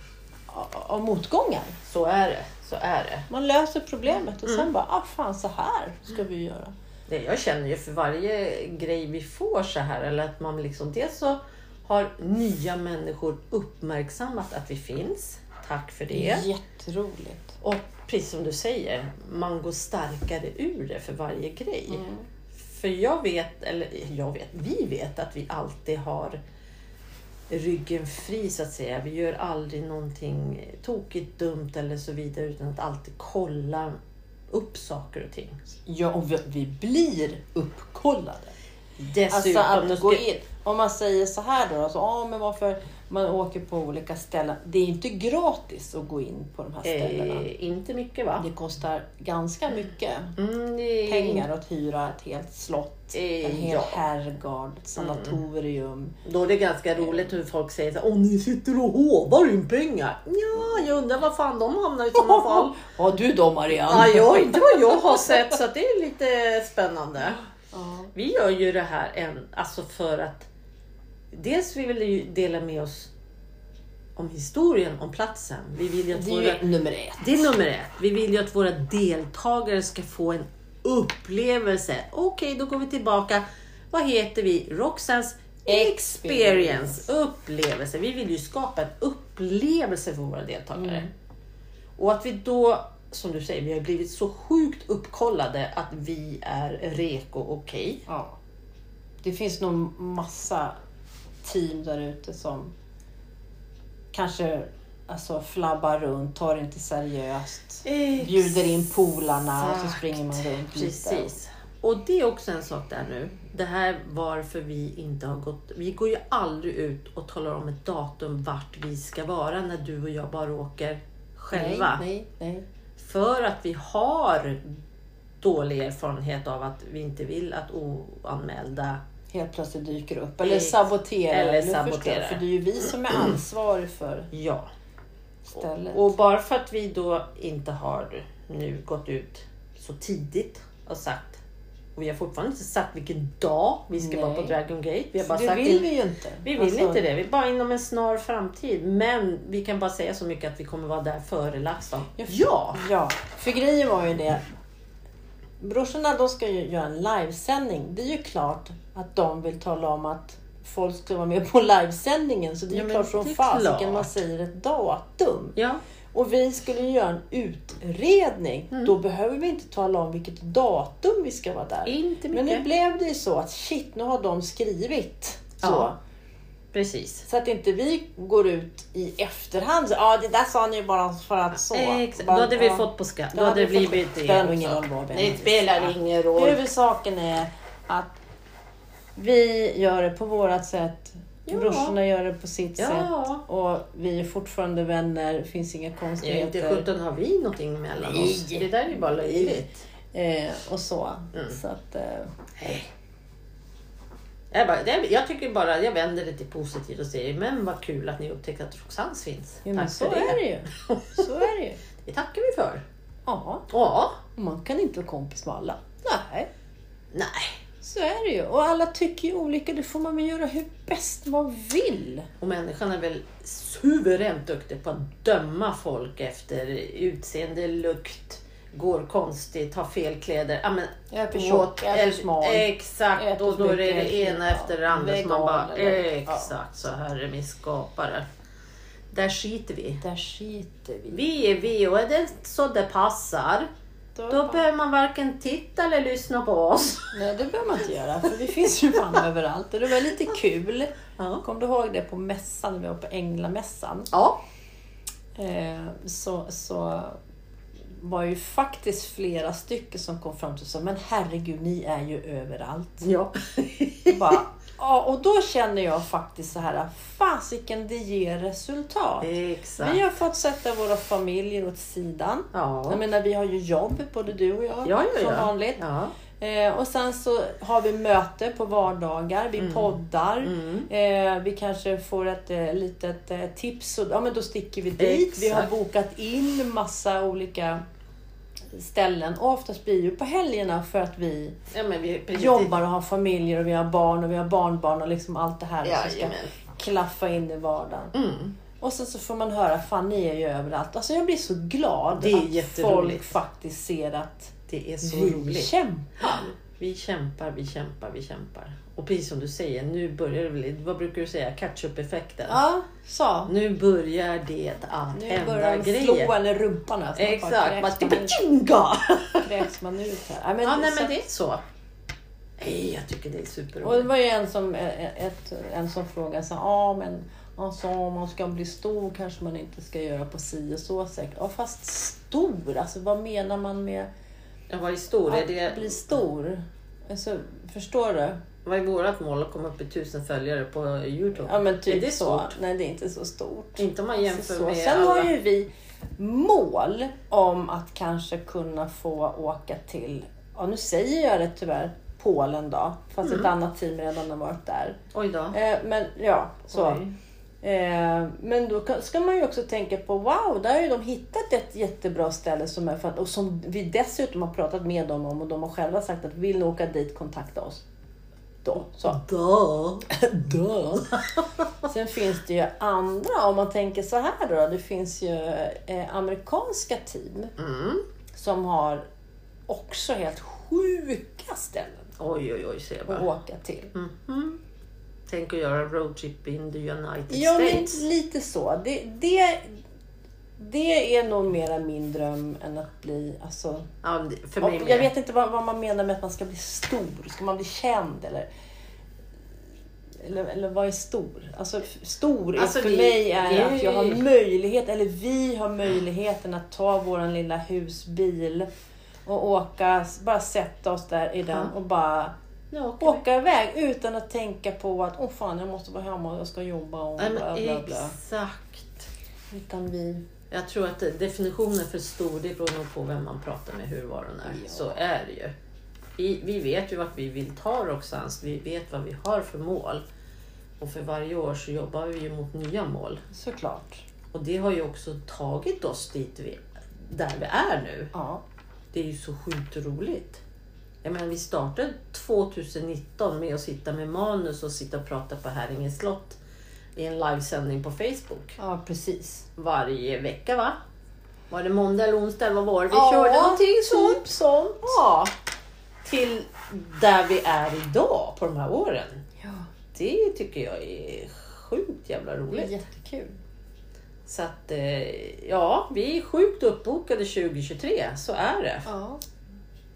Speaker 1: av, av motgångar.
Speaker 2: Så är det. Så är det.
Speaker 1: Man löser problemet och sen bara, ah fan så här ska vi göra.
Speaker 2: det. Jag känner ju för varje grej vi får så här, eller att man liksom dels så har nya människor uppmärksammat att vi finns. Tack för det.
Speaker 1: Jätteroligt.
Speaker 2: Och precis som du säger, man går starkare ur det för varje grej. För jag vet, eller jag vet, vi vet att vi alltid har ryggen fri så att säga. Vi gör aldrig någonting tokigt, dumt eller så vidare utan att alltid kolla upp saker och ting.
Speaker 1: Ja, och vi, vi blir uppkollade. Alltså
Speaker 2: Dessutom, nu
Speaker 1: att
Speaker 2: ska-
Speaker 1: gå in. Om man säger så här då, alltså, ah, men varför man åker på olika ställen. Det är inte gratis att gå in på de här ställena.
Speaker 2: eh, inte mycket va?
Speaker 1: Det kostar ganska mycket
Speaker 2: Mm, det är
Speaker 1: pengar att hyra ett helt slott,
Speaker 2: Eh,
Speaker 1: en hel
Speaker 2: ja. Mm.
Speaker 1: herrgård, ett sanatorium.
Speaker 2: Då är det ganska roligt hur folk säger så här, Åh, ni sitter och håvar in pengar. Ja, jag undrar vad fan de hamnar i
Speaker 1: [laughs]
Speaker 2: sådana fall.
Speaker 1: Har du då
Speaker 2: Ja,
Speaker 1: Marianne?
Speaker 2: jag, inte vad jag har sett så att det är lite spännande.
Speaker 1: Ja.
Speaker 2: Vi gör ju det här en, alltså för att dels vi vill ju dela med oss om historien om platsen. Vi vill ju att
Speaker 1: Det
Speaker 2: våra,
Speaker 1: är ju nummer ett.
Speaker 2: det är nummer ett. Vi vill ju att våra deltagare ska få en upplevelse. Okej, då går vi tillbaka. Vad heter vi? Roxans experience.
Speaker 1: Experience.
Speaker 2: Upplevelse. Vi vill ju skapa en upplevelse för våra deltagare.
Speaker 1: Mm.
Speaker 2: Och att vi då, som du säger, vi har blivit så sjukt uppkollade att vi är reko okej.
Speaker 1: Ja. Det finns nog massa team där ute som kanske alltså, flabbar runt, tar det inte seriöst, bjuder in polarna och så
Speaker 2: Exakt.
Speaker 1: springer man runt lite.
Speaker 2: Precis. Och det är också en sak där nu. Det här varför vi inte har gått. Vi går ju aldrig ut och talar om ett datum vart vi ska vara när du och jag bara åker själva.
Speaker 1: Nej, nej, nej.
Speaker 2: För att vi har dålig erfarenhet av att vi inte vill att oanmälda...
Speaker 1: Helt plötsligt dyker upp. Eller
Speaker 2: Ex-
Speaker 1: saboterar.
Speaker 2: eller
Speaker 1: Nu förstår jag,
Speaker 2: saboterar.
Speaker 1: För det är ju vi som är ansvarig för
Speaker 2: Ja.
Speaker 1: stället.
Speaker 2: Och bara för att vi då inte har nu gått ut så tidigt och sagt och vi har fortfarande inte sagt vilken dag vi ska vara på
Speaker 1: Nej.
Speaker 2: Dragon Gate. Vi har bara
Speaker 1: För det
Speaker 2: sagt
Speaker 1: vill vi ju inte. Alltså,
Speaker 2: vi vill inte det. Vi är bara inom en snar framtid. Men vi kan bara säga så mycket att vi kommer vara där före LaxTon.
Speaker 1: Ja.
Speaker 2: Ja!
Speaker 1: Ja, för grejen var ju det. Brorsorna de ska ju göra en livesändning. Det är ju klart att de vill tala om att folk ska vara med på [laughs] livesändningen. Så det är
Speaker 2: Ja,
Speaker 1: ju
Speaker 2: men
Speaker 1: klart
Speaker 2: det
Speaker 1: som
Speaker 2: är klart.
Speaker 1: fasiken man säger ett datum.
Speaker 2: Ja.
Speaker 1: Och vi skulle ju göra en utredning.
Speaker 2: Mm.
Speaker 1: Då behöver vi inte tala om vilket datum vi ska vara där.
Speaker 2: Inte mycket.
Speaker 1: Men nu blev det ju så att shit, nu har de skrivit. Så.
Speaker 2: Ja. Precis.
Speaker 1: Så att inte vi går ut i efterhand. Ja, ah, det där sa ni ju bara för att så.
Speaker 2: Exakt. Då
Speaker 1: Bara,
Speaker 2: hade vi
Speaker 1: ja.
Speaker 2: fått på skatt. Då,
Speaker 1: Då
Speaker 2: hade det
Speaker 1: hade vi fått-
Speaker 2: blivit det.
Speaker 1: spelar nog
Speaker 2: också.
Speaker 1: ingen roll vad vi
Speaker 2: Det
Speaker 1: hade
Speaker 2: spelar
Speaker 1: sagt.
Speaker 2: ingen roll.
Speaker 1: Huvudsaken är att vi gör det på vårat sätt.
Speaker 2: Ja.
Speaker 1: Brorsorna gör det på sitt sätt.
Speaker 2: Ja.
Speaker 1: Och vi är fortfarande vänner, finns inga
Speaker 2: Ja, inte
Speaker 1: konstigheter.
Speaker 2: sjutton har vi någonting mellan oss.
Speaker 1: Nej.
Speaker 2: Det där är ju bara löjligt.
Speaker 1: Eh, och så.
Speaker 2: Mm.
Speaker 1: så att, eh,
Speaker 2: Jag, bara, det- jag tycker bara, jag vänder det till positivt och säger men vad kul att ni upptäckte att Roxans finns.
Speaker 1: ja, men
Speaker 2: Tack
Speaker 1: så
Speaker 2: för det.
Speaker 1: är det ju.
Speaker 2: [laughs]
Speaker 1: Så är det ju.
Speaker 2: Det tackar vi för.
Speaker 1: Ja,
Speaker 2: Ja.
Speaker 1: man kan inte vara kompis med alla. Nej,
Speaker 2: Nej.
Speaker 1: så är det ju. Och alla tycker ju olika, det får man väl göra hur bäst man vill.
Speaker 2: Och människan är väl suveränt duktig på att döma folk efter utseende, lukt, går konstigt, har fel kläder. Ja, men,
Speaker 1: Jag är för
Speaker 2: åt-
Speaker 1: tjock, jag är för
Speaker 2: el-
Speaker 1: smal.
Speaker 2: Exakt,
Speaker 1: Äter
Speaker 2: och då är det
Speaker 1: mycket,
Speaker 2: det ena
Speaker 1: ja.
Speaker 2: efter det andra som man
Speaker 1: Vegan
Speaker 2: bara,
Speaker 1: eller- ja.
Speaker 2: exakt så här är min skapare. Där skiter vi.
Speaker 1: Där skiter vi.
Speaker 2: Vi är vi och är det så det passar, då behöver man varken titta eller lyssna på oss. [laughs]
Speaker 1: Nej, det behöver man inte göra, för vi finns ju fan överallt. Och det var lite kul.
Speaker 2: Ja.
Speaker 1: Kom du ihåg det på mässan, när vi var på Änglamässan?
Speaker 2: Ja,
Speaker 1: Eh, så, så var ju faktiskt flera stycken som kom fram till oss och sa, men herregud, ni är ju överallt.
Speaker 2: ja.
Speaker 1: Och Bara, ja, och då känner jag faktiskt så här, fasiken, det ger resultat.
Speaker 2: exakt.
Speaker 1: Vi har fått sätta våra familjer åt sidan. Jag
Speaker 2: Ja.
Speaker 1: menar, vi har ju jobb, både du och jag,
Speaker 2: Ja, ja,
Speaker 1: som
Speaker 2: ja.
Speaker 1: vanligt.
Speaker 2: Ja.
Speaker 1: Eh, och sen så har vi möte på vardagar, vi
Speaker 2: Mm.
Speaker 1: poddar, eh, vi kanske får ett eh, litet eh, tips och ja, men då sticker vi dit. Vi har
Speaker 2: Exakt.
Speaker 1: bokat in massa olika ställen och oftast blir ju på helgerna för att vi
Speaker 2: Ja, men vi, precis.
Speaker 1: jobbar och har familjer och vi har barn och vi har barnbarn och liksom allt det här som ska
Speaker 2: Jajamän.
Speaker 1: klaffa in i vardagen.
Speaker 2: Mm.
Speaker 1: Och sen så får man höra, fan ni är ju överallt. Alltså jag blir så glad
Speaker 2: Det är
Speaker 1: att folk
Speaker 2: jätteroligt.
Speaker 1: faktiskt ser att
Speaker 2: Det är så
Speaker 1: vi
Speaker 2: roligt.
Speaker 1: kämpar.
Speaker 2: Vi kämpar, vi kämpar, vi kämpar. Och precis som du säger, nu börjar det väl, vad brukar du säga, catch-up-effekten?
Speaker 1: Ja, så.
Speaker 2: Nu börjar det att
Speaker 1: Nu börjar
Speaker 2: hända
Speaker 1: de slå
Speaker 2: grejer.
Speaker 1: en i rumpan här. så man
Speaker 2: Exakt,
Speaker 1: bara
Speaker 2: bara
Speaker 1: kräks man ut-
Speaker 2: tjinga!
Speaker 1: kräks man ut här. Ja, men,
Speaker 2: Ja, nej
Speaker 1: så-
Speaker 2: men det är så. Nej, jag tycker det är
Speaker 1: Och det
Speaker 2: superroligt.
Speaker 1: var ju en som, e- ett, en som frågade så ja men alltså, om man ska bli stor kanske man inte ska göra på si och så säkert. Ja fast stor, alltså vad menar man med
Speaker 2: Jag var i stor, är
Speaker 1: att
Speaker 2: det,
Speaker 1: bli stor? Alltså, förstår du?
Speaker 2: vad är vårt mål att komma upp i tusen följare på Youtube?
Speaker 1: Ja men typ
Speaker 2: är det
Speaker 1: så.
Speaker 2: stort?
Speaker 1: Nej det är inte så stort.
Speaker 2: Inte om man jämför
Speaker 1: Alltså, så.
Speaker 2: med
Speaker 1: Sen
Speaker 2: alla.
Speaker 1: har ju vi mål om att kanske kunna få åka till, ja nu säger jag det tyvärr, Polen då. Fast
Speaker 2: Mm.
Speaker 1: ett annat team redan har varit där.
Speaker 2: Oj då.
Speaker 1: Eh, men ja, så.
Speaker 2: Oj.
Speaker 1: Eh, men då kan- ska man ju också tänka på, wow, där har ju de hittat ett jättebra ställe som är fan- och som vi dessutom har pratat med dem om och de har själva sagt att vill ni åka dit, kontakta oss. Då, så.
Speaker 2: Då.
Speaker 1: Duh. [laughs] Sen finns det ju andra, om man tänker så här då. Det finns ju eh, amerikanska team
Speaker 2: Mm.
Speaker 1: som har också helt sjuka ställen
Speaker 2: Oj, oj, oj, ser jag
Speaker 1: att
Speaker 2: bara.
Speaker 1: åka till.
Speaker 2: Mhm. Tänk att göra en roadtrip in the United
Speaker 1: Ja, men
Speaker 2: States.
Speaker 1: lite så. Det, det, det är nog mera min dröm än att bli... Alltså,
Speaker 2: Ja, men det- för
Speaker 1: och
Speaker 2: mig
Speaker 1: jag
Speaker 2: med.
Speaker 1: vet inte vad, vad man menar med att man ska bli stor. Ska man bli känd eller? Eller, eller vad är stor? Alltså, f- stor är
Speaker 2: Alltså,
Speaker 1: för
Speaker 2: det-
Speaker 1: mig är
Speaker 2: det-
Speaker 1: att jag har möjlighet, eller vi har möjligheten att ta våran lilla husbil och åka, bara sätta oss där i den
Speaker 2: Ja.
Speaker 1: och bara
Speaker 2: Nu åker vi.
Speaker 1: åka iväg utan att tänka på att åh fan jag måste vara hemma och jag ska jobba och
Speaker 2: Nej,
Speaker 1: bla bla
Speaker 2: men
Speaker 1: bla.
Speaker 2: exakt.
Speaker 1: Utan vi,
Speaker 2: Jag tror att definitionen för stor, det beror nog på vem man pratar med, hur var den är.
Speaker 1: Ja.
Speaker 2: Så är det ju. Vi, vi vet ju vart vi vill ta Roxans, vi vet vad vi har för mål. Och för varje år så jobbar vi ju mot nya mål.
Speaker 1: såklart.
Speaker 2: Och det har ju också tagit oss dit vi, där vi är nu.
Speaker 1: Ja.
Speaker 2: Det är ju så sjukt roligt. Jag menar, vi startade 2019 med att sitta med manus och sitta och prata på Häringe slott i en livesändning på Facebook.
Speaker 1: ja, precis.
Speaker 2: Varje vecka va? Var det måndag eller onsdag? eller Vad var det? Vi
Speaker 1: Ja,
Speaker 2: körde någonting sånt.
Speaker 1: Typ sånt.
Speaker 2: Ja. Till där vi är idag på de här åren.
Speaker 1: Ja,
Speaker 2: Det tycker jag är sjukt jävla
Speaker 1: det är
Speaker 2: roligt.
Speaker 1: jättekul.
Speaker 2: Så att eh, ja, vi är sjukt uppbokade 2023. Så är det.
Speaker 1: Ja.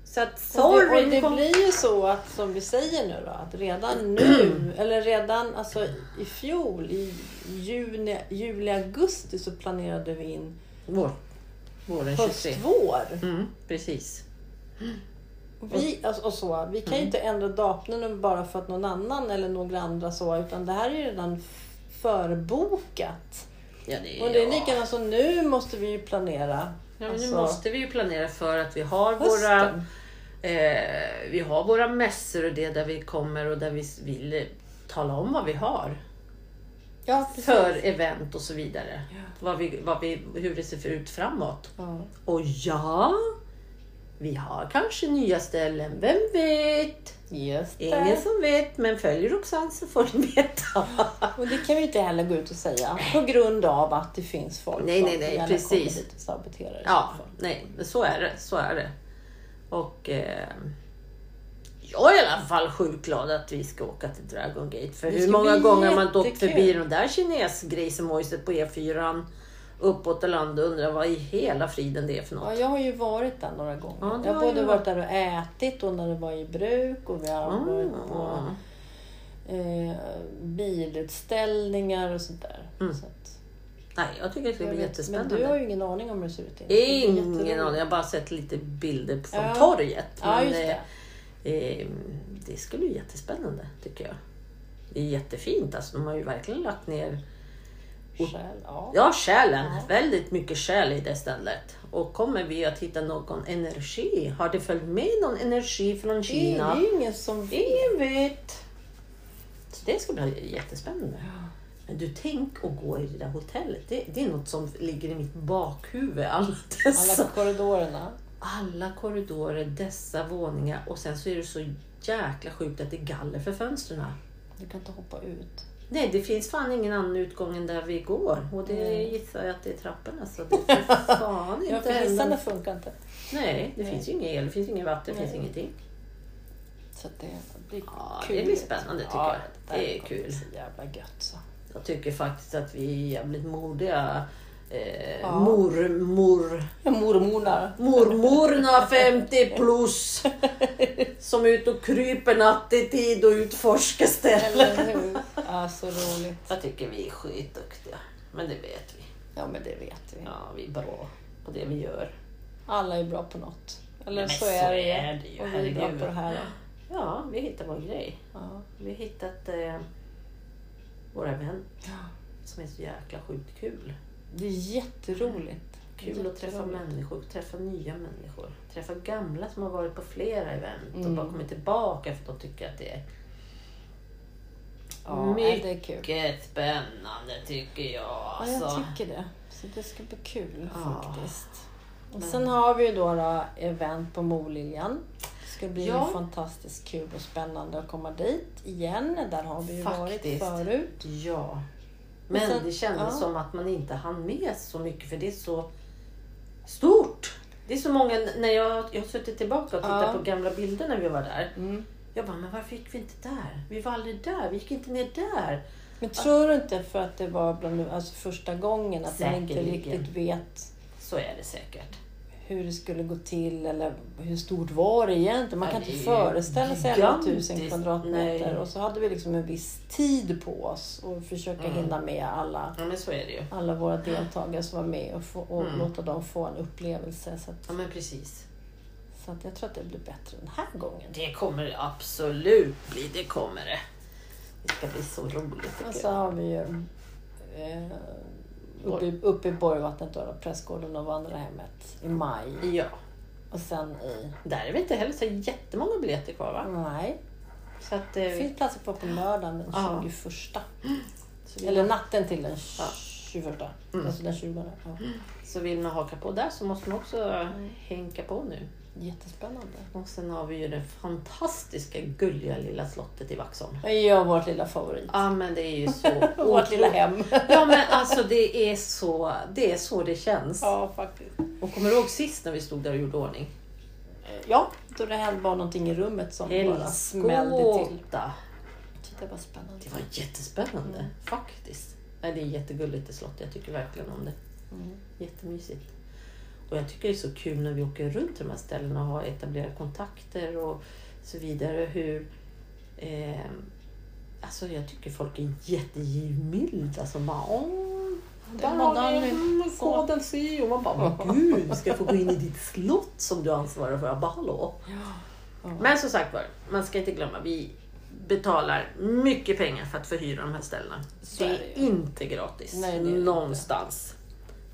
Speaker 2: Så att
Speaker 1: Och det,
Speaker 2: sorgen
Speaker 1: och det
Speaker 2: kom-
Speaker 1: blir ju så att som vi säger nu då, att redan nu, eller redan alltså i fjol i juni, juli, augusti så planerade vi in
Speaker 2: Vår. Våren 23.
Speaker 1: höst-vår.
Speaker 2: Mm, precis.
Speaker 1: Och Vi, alltså, och så, vi kan ju inte ändra datumen bara för att någon annan eller några andra så, utan det här är ju redan f- förbokat.
Speaker 2: Ja, det,
Speaker 1: Och det är likadant som nu måste vi ju planera.
Speaker 2: ja, men
Speaker 1: Alltså,
Speaker 2: Nu måste vi ju planera för att vi har våra
Speaker 1: hösten.
Speaker 2: eh, vi har våra mässor och det där vi kommer och där vi s- vill eh, tala om vad vi har
Speaker 1: Ja, precis.
Speaker 2: för event och så vidare.
Speaker 1: Ja.
Speaker 2: Vad vi, vad vi, hur det ser ut framåt.
Speaker 1: Ja.
Speaker 2: Och ja, vi har kanske nya ställen, vem vet?
Speaker 1: Just
Speaker 2: Ingen
Speaker 1: det.
Speaker 2: som vet, men följ Roxanne så får ni
Speaker 1: [laughs]
Speaker 2: veta.
Speaker 1: Och det kan vi inte heller gå ut och säga på grund av att det finns folk
Speaker 2: Nej,
Speaker 1: som
Speaker 2: nej, nej,
Speaker 1: gärna
Speaker 2: precis.
Speaker 1: kommer hit och saboterar. i
Speaker 2: Ja,
Speaker 1: så fall.
Speaker 2: nej, men så är det. Så är det. Och eh, jag är i alla fall sjukt glad att vi ska åka till Dragon Gate. För
Speaker 1: Det
Speaker 2: hur
Speaker 1: ska
Speaker 2: många
Speaker 1: bli
Speaker 2: gånger har man åkt
Speaker 1: jättekul.
Speaker 2: förbi de där kinesgrisemojset på E4 uppåt och land och undrar vad i hela friden det är för
Speaker 1: Ja,
Speaker 2: något.
Speaker 1: jag har ju varit där några gånger.
Speaker 2: Ja, det
Speaker 1: jag har
Speaker 2: har
Speaker 1: både
Speaker 2: jag.
Speaker 1: varit där och ätit och när det var i bruk och vi har varit på
Speaker 2: Ah.
Speaker 1: eh, bilutställningar och sånt där. Så att,
Speaker 2: Nej, jag tycker Mm. det ska
Speaker 1: jag
Speaker 2: bli
Speaker 1: vet, men du har
Speaker 2: jättespännande.
Speaker 1: ju ingen aning om hur det ser ut.
Speaker 2: Ingen aning, jag har bara sett lite bilder från
Speaker 1: Ja.
Speaker 2: torget.
Speaker 1: Ja,
Speaker 2: men,
Speaker 1: just det.
Speaker 2: Eh, det skulle bli jättespännande tycker jag. Det är jättefint alltså. De har ju verkligen lagt ner
Speaker 1: Själ, ja.
Speaker 2: ja, själen, väldigt mycket själ i det stället. Och kommer vi att hitta någon energi? Har det följt med någon energi från
Speaker 1: Det är
Speaker 2: Kina?
Speaker 1: ju ingen som vet.
Speaker 2: Ingen vet. Så det ska bli jättespännande. Men du, tänk att gå i det där hotellet. Det, det är något som ligger i mitt bakhuvud. Alla dessa
Speaker 1: Alla korridorerna.
Speaker 2: alla korridorer, dessa våningar och sen så är det så jäkla sjukt att det är galler för fönstren.
Speaker 1: Du kan inte hoppa ut.
Speaker 2: Nej, det finns fan ingen annan utgång än där vi går och det gissar jag att det är trapporna så det är
Speaker 1: [laughs]
Speaker 2: för fan
Speaker 1: Ja,
Speaker 2: inte
Speaker 1: för hissarna
Speaker 2: hända.
Speaker 1: funkar inte.
Speaker 2: Nej, det
Speaker 1: Nej.
Speaker 2: finns ju ingen el, det finns ingen vatten, det finns
Speaker 1: Nej.
Speaker 2: ingenting.
Speaker 1: Så att det blir
Speaker 2: Ja,
Speaker 1: kul.
Speaker 2: det blir spännande tycker
Speaker 1: ja,
Speaker 2: jag.
Speaker 1: där
Speaker 2: Det är
Speaker 1: kommer
Speaker 2: kul.
Speaker 1: bli Så jävla gött så.
Speaker 2: Jag tycker faktiskt att vi är jävligt modiga. Eh,
Speaker 1: Ja.
Speaker 2: Mormor,
Speaker 1: Ja, mormorna. [laughs]
Speaker 2: mormorna 50 plus som är ute och kryper nattetid och utforskar ställen.
Speaker 1: Eller hur? Ja, så roligt.
Speaker 2: Jag tycker vi är skitduktiga. Men det vet vi.
Speaker 1: Ja, men det vet vi.
Speaker 2: Ja, vi är bra på det vi gör.
Speaker 1: Alla är bra på något. Eller
Speaker 2: Nej, men
Speaker 1: så,
Speaker 2: så
Speaker 1: är det
Speaker 2: är det ju,
Speaker 1: Och vi är bra
Speaker 2: herregud.
Speaker 1: på det här. då.
Speaker 2: Ja, vi hittar vår grej.
Speaker 1: Ja.
Speaker 2: Vi har hittat eh, våra vän
Speaker 1: Ja.
Speaker 2: som är så jäkla sjukt kul.
Speaker 1: Det är jätteroligt.
Speaker 2: Kul att träffa
Speaker 1: Jätteroligt.
Speaker 2: människor, träffa nya människor. Träffa gamla som har varit på flera event och
Speaker 1: Mm.
Speaker 2: bara kommit tillbaka för att de tycker att det är
Speaker 1: Ja, nej, det är kul.
Speaker 2: mycket spännande tycker jag.
Speaker 1: Ja, jag
Speaker 2: Alltså.
Speaker 1: tycker det. Så det ska bli kul
Speaker 2: Ja.
Speaker 1: faktiskt. Och
Speaker 2: Men-
Speaker 1: sen har vi ju då, då event på Moliljan. Det ska bli
Speaker 2: Ja.
Speaker 1: fantastiskt kul och spännande att komma dit igen. Där har vi ju varit
Speaker 2: Faktiskt.
Speaker 1: förut.
Speaker 2: Ja.
Speaker 1: Men
Speaker 2: Men
Speaker 1: sen-
Speaker 2: det kändes
Speaker 1: ja.
Speaker 2: som att man inte hann med så mycket för det är så stort. Det är så många, när jag, jag har suttit tillbaka och tittat
Speaker 1: Ja.
Speaker 2: på gamla bilder när vi var där.
Speaker 1: Mm.
Speaker 2: Jag bara, men varför gick vi inte där? Vi var aldrig där, vi gick inte ner där.
Speaker 1: Men tror du inte för att det var bland, alltså första gången att man inte
Speaker 2: Säkerligen.
Speaker 1: riktigt vet
Speaker 2: Så är det säkert.
Speaker 1: hur det skulle gå till eller hur stort var det egentligen? Man
Speaker 2: Ja,
Speaker 1: kan
Speaker 2: det
Speaker 1: inte
Speaker 2: är ju
Speaker 1: föreställa sig alla
Speaker 2: gigantiskt.
Speaker 1: tusen kvadratmeter
Speaker 2: Nej.
Speaker 1: och så hade vi liksom en viss tid på oss och försöka
Speaker 2: Mm.
Speaker 1: hinna med alla,
Speaker 2: Ja men så är det ju.
Speaker 1: alla våra deltagare som var med och, få, och
Speaker 2: Mm.
Speaker 1: låta dem få en upplevelse. Så att,
Speaker 2: Ja men precis.
Speaker 1: så Så att jag tror att det blir bättre den här gången.
Speaker 2: Det kommer det absolut bli, det kommer det. Alltså. Det ska bli så roligt
Speaker 1: Och
Speaker 2: tycker
Speaker 1: så
Speaker 2: jag.
Speaker 1: Alltså, har vi ju eh, uppe, i- uppe i Borgvattnet, då, då, prästgården och vandrarhemmet i maj.
Speaker 2: Ja,
Speaker 1: Och sen i...
Speaker 2: där är vi inte heller så jättemånga biljetter kvar va?
Speaker 1: Nej.
Speaker 2: Så att,
Speaker 1: Det
Speaker 2: eh,
Speaker 1: finns platser kvar på lördagen den
Speaker 2: Ja.
Speaker 1: 21.
Speaker 2: så vill,
Speaker 1: Eller
Speaker 2: man,
Speaker 1: natten till den
Speaker 2: Ja.
Speaker 1: 21. Alltså den 20. Ja.
Speaker 2: så vill man haka på där så måste man också hänka på nu.
Speaker 1: Jättespännande.
Speaker 2: Och sen har vi ju det fantastiska gulliga lilla slottet i Vaxholm.
Speaker 1: Ja, vårt lilla favorit.
Speaker 2: Ja men det är ju [laughs] så
Speaker 1: Vårt lilla hem.
Speaker 2: Ja men alltså det är så det, är så det
Speaker 1: [laughs]
Speaker 2: känns.
Speaker 1: ja, faktiskt.
Speaker 2: Och kommer du ihåg sist när vi stod där och gjorde ordning?
Speaker 1: Eh, Ja, då det hände bara någonting i rummet som bara smällde till.
Speaker 2: Helskotta!
Speaker 1: Titta vad spännande.
Speaker 2: Det var jättespännande faktiskt. Nej, det är jättegulligt det slottet. Jag tycker verkligen om det.
Speaker 1: Mm.
Speaker 2: Jättemysigt. Och jag tycker det är så kul när vi åker runt till de här ställena och har etablerat kontakter och så vidare. Hur, eh, alltså jag tycker folk är jättegivmilda som bara Åh, där
Speaker 1: man
Speaker 2: har
Speaker 1: där med
Speaker 2: ni mm, sadel si och man bara men gud, ska jag få gå in i ditt slott som du ansvarar för? Jag bara hallå.
Speaker 1: Ja.
Speaker 2: Men som sagt var, man ska inte glömma, vi betalar mycket pengar för att förhyra de här ställena.
Speaker 1: Så
Speaker 2: Det
Speaker 1: är
Speaker 2: är,
Speaker 1: det ju.
Speaker 2: inte gratis
Speaker 1: Nej, det är det inte.
Speaker 2: någonstans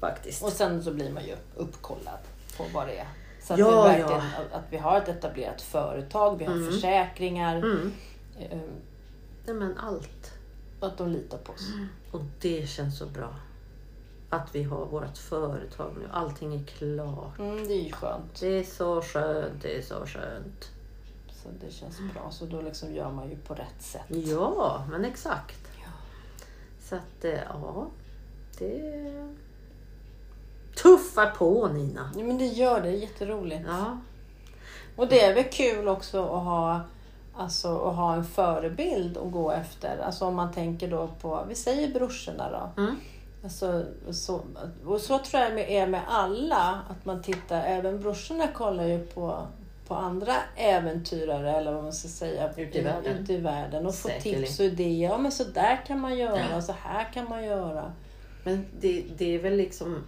Speaker 2: faktiskt.
Speaker 1: Och sen så blir man ju uppkollad på vad det är. Så att,
Speaker 2: Ja,
Speaker 1: vi,
Speaker 2: ja.
Speaker 1: verkligen, att vi har ett etablerat företag, vi har försäkringar.
Speaker 2: Mm.
Speaker 1: eh,
Speaker 2: Nej men allt.
Speaker 1: Och att de litar på oss.
Speaker 2: Och det känns så bra. Att vi har vårt företag nu. Allting är klart.
Speaker 1: Mm, det är ju skönt.
Speaker 2: Det är så skönt, det är så skönt.
Speaker 1: Så det känns bra. Så då liksom gör man ju på rätt sätt.
Speaker 2: Ja, men exakt.
Speaker 1: Ja.
Speaker 2: Så att, eh, ja. Det... Tuffa på Nina!
Speaker 1: Ja, men det gör det, det är jätteroligt.
Speaker 2: Ja,
Speaker 1: Och det är väl kul också att ha, alltså, att ha en förebild att gå efter. Alltså om man tänker då på, vi säger brorsorna då.
Speaker 2: Mm.
Speaker 1: Alltså, så, och så tror jag det är med alla, att man tittar, även brorsorna kollar ju på, på andra äventyrare eller vad man ska säga.
Speaker 2: Ute i världen.
Speaker 1: Ute i världen och får
Speaker 2: Säkerligen.
Speaker 1: tips och idéer. Ja men så där kan man göra, så här kan man göra.
Speaker 2: men det, det är väl liksom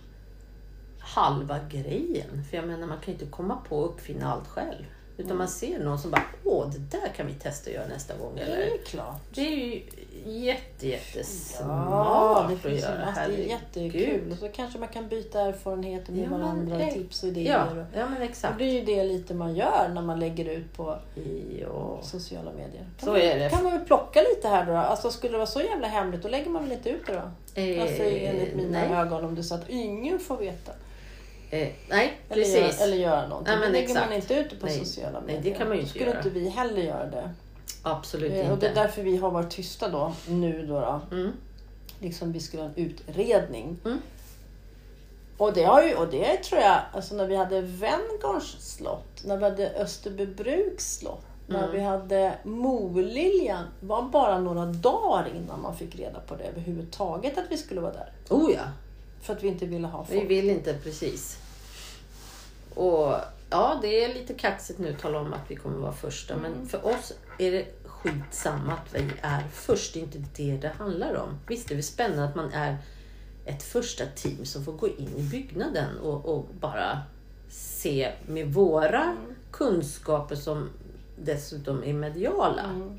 Speaker 2: halva grejen. För jag menar, man kan ju inte komma på och uppfinna allt själv. Utan
Speaker 1: Mm.
Speaker 2: man ser någon som bara, åh, det där kan vi testa att göra nästa gång.
Speaker 1: Det
Speaker 2: Eller,
Speaker 1: är ju klart.
Speaker 2: Det är ju jätte,
Speaker 1: Ja,
Speaker 2: jättesmart
Speaker 1: Alltså, det finns ju
Speaker 2: att göra.
Speaker 1: massor. Det är
Speaker 2: Herregud.
Speaker 1: jättekul. Och så kanske man kan byta erfarenheter med
Speaker 2: Ja, men
Speaker 1: varandra och
Speaker 2: det-
Speaker 1: tips och idéer.
Speaker 2: Ja,
Speaker 1: Och-
Speaker 2: ja men
Speaker 1: Det
Speaker 2: exakt.
Speaker 1: blir ju det lite man gör när man lägger ut på
Speaker 2: Ja.
Speaker 1: sociala medier. Kan
Speaker 2: Så
Speaker 1: man,
Speaker 2: är det.
Speaker 1: Mm. kan man väl plocka lite här då? Alltså skulle det vara så jävla hemligt, då lägger man väl inte ut det då?
Speaker 2: Eh,
Speaker 1: Alltså enligt mina
Speaker 2: nej.
Speaker 1: ögon om du sa att ingen får veta.
Speaker 2: Eh, nej,
Speaker 1: Eller,
Speaker 2: precis.
Speaker 1: Göra, eller göra någonting.
Speaker 2: Nej, men
Speaker 1: då lägger
Speaker 2: exakt.
Speaker 1: man inte ut det på
Speaker 2: Nej.
Speaker 1: sociala
Speaker 2: Nej, det
Speaker 1: medier.
Speaker 2: kan man
Speaker 1: Då
Speaker 2: ju inte
Speaker 1: skulle
Speaker 2: göra.
Speaker 1: inte vi heller göra det.
Speaker 2: Absolut
Speaker 1: Eh, Och det
Speaker 2: inte.
Speaker 1: är därför vi har varit tysta då, nu då. då.
Speaker 2: Mm.
Speaker 1: Liksom vi skulle ha en utredning.
Speaker 2: Mm.
Speaker 1: Och det, har ju, och det tror jag, alltså när vi hade Venngarns slott, när vi hade Österbybruks slott,
Speaker 2: Mm.
Speaker 1: när vi hade Moliljan, var bara några dagar innan man fick reda på det överhuvudtaget att vi skulle vara där.
Speaker 2: Oh ja,
Speaker 1: För att vi inte ville ha
Speaker 2: vi
Speaker 1: folk.
Speaker 2: vill inte precis. Och ja, det är lite kaxigt nu att tala om att vi kommer vara första.
Speaker 1: Mm.
Speaker 2: Men för oss är det skitsamma att vi är först. Det är inte det det handlar om. Visst det är det spännande att man är ett första team som får gå in i byggnaden och, och bara se med våra
Speaker 1: Mm.
Speaker 2: kunskaper som dessutom är mediala.
Speaker 1: Mm.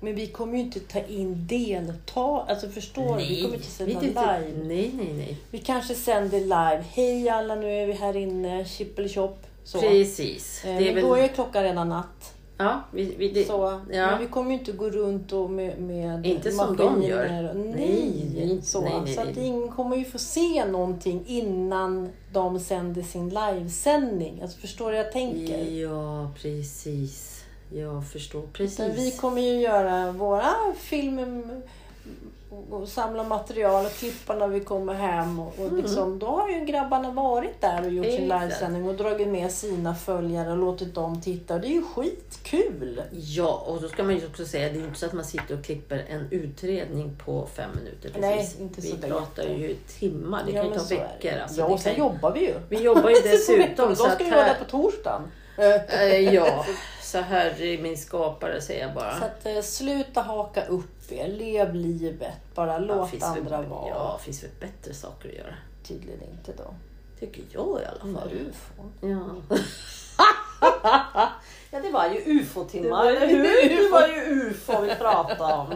Speaker 1: Men vi kommer ju inte ta in deltag... Alltså förstår du? Vi kommer inte sända
Speaker 2: vi är inte-
Speaker 1: live.
Speaker 2: nej, nej, nej.
Speaker 1: Vi kanske sänder live. Hej alla, nu är vi här inne. Chippelchopp. Så.
Speaker 2: Precis.
Speaker 1: Eh,
Speaker 2: Det
Speaker 1: men
Speaker 2: är väl,
Speaker 1: då är klockan redan natt.
Speaker 2: ja, vi, vi, det,
Speaker 1: så,
Speaker 2: ja.
Speaker 1: Men vi kommer ju inte gå runt och med, med
Speaker 2: Inte som de
Speaker 1: maskiner
Speaker 2: gör.
Speaker 1: och-
Speaker 2: Nej,
Speaker 1: Nej,
Speaker 2: det är inte-
Speaker 1: så,
Speaker 2: nej, nej,
Speaker 1: så att
Speaker 2: nej.
Speaker 1: ingen kommer ju få se någonting innan de sänder sin livesändning. Alltså, förstår du vad jag tänker?
Speaker 2: Ja, precis. Jag förstår
Speaker 1: Så vi
Speaker 2: precis.
Speaker 1: kommer ju göra våra filmer och samla material och klippa när vi kommer hem. Och, och liksom, då har ju grabbarna varit där och gjort sin
Speaker 2: Mm. Exakt.
Speaker 1: livesändning och dragit med sina följare och låtit dem titta. Och det är ju skitkul!
Speaker 2: Ja, och då ska man ju också säga det är ju inte så att man sitter och klipper en utredning på fem minuter. Precis.
Speaker 1: Nej, inte så
Speaker 2: vi
Speaker 1: där
Speaker 2: pratar
Speaker 1: jätte.
Speaker 2: ju timmar, det
Speaker 1: Ja,
Speaker 2: kan ju
Speaker 1: men
Speaker 2: ta
Speaker 1: så är
Speaker 2: veckor.
Speaker 1: det.
Speaker 2: Alltså,
Speaker 1: ja,
Speaker 2: det
Speaker 1: och sen
Speaker 2: kan... ju-
Speaker 1: jobbar vi ju.
Speaker 2: Vi
Speaker 1: [laughs]
Speaker 2: jobbar ju
Speaker 1: De
Speaker 2: dessutom så
Speaker 1: ska
Speaker 2: att
Speaker 1: ju vara där
Speaker 2: här...
Speaker 1: på torsdagen.
Speaker 2: Eh, ja, så här är min skapare säger jag bara.
Speaker 1: Så att, eh, sluta haka upp er, lev livet, bara
Speaker 2: Ja,
Speaker 1: låt
Speaker 2: finns väl-
Speaker 1: andra vara.
Speaker 2: Ja, finns väl bättre saker att göra.
Speaker 1: Tydligen inte då. Mm.
Speaker 2: Tycker jag i alla fall.
Speaker 1: Ufon.
Speaker 2: Ja. [laughs] ja, det var ju ufo-timmar,
Speaker 1: Det var
Speaker 2: eller hur?
Speaker 1: lite
Speaker 2: Det var ju ufo vi pratade om.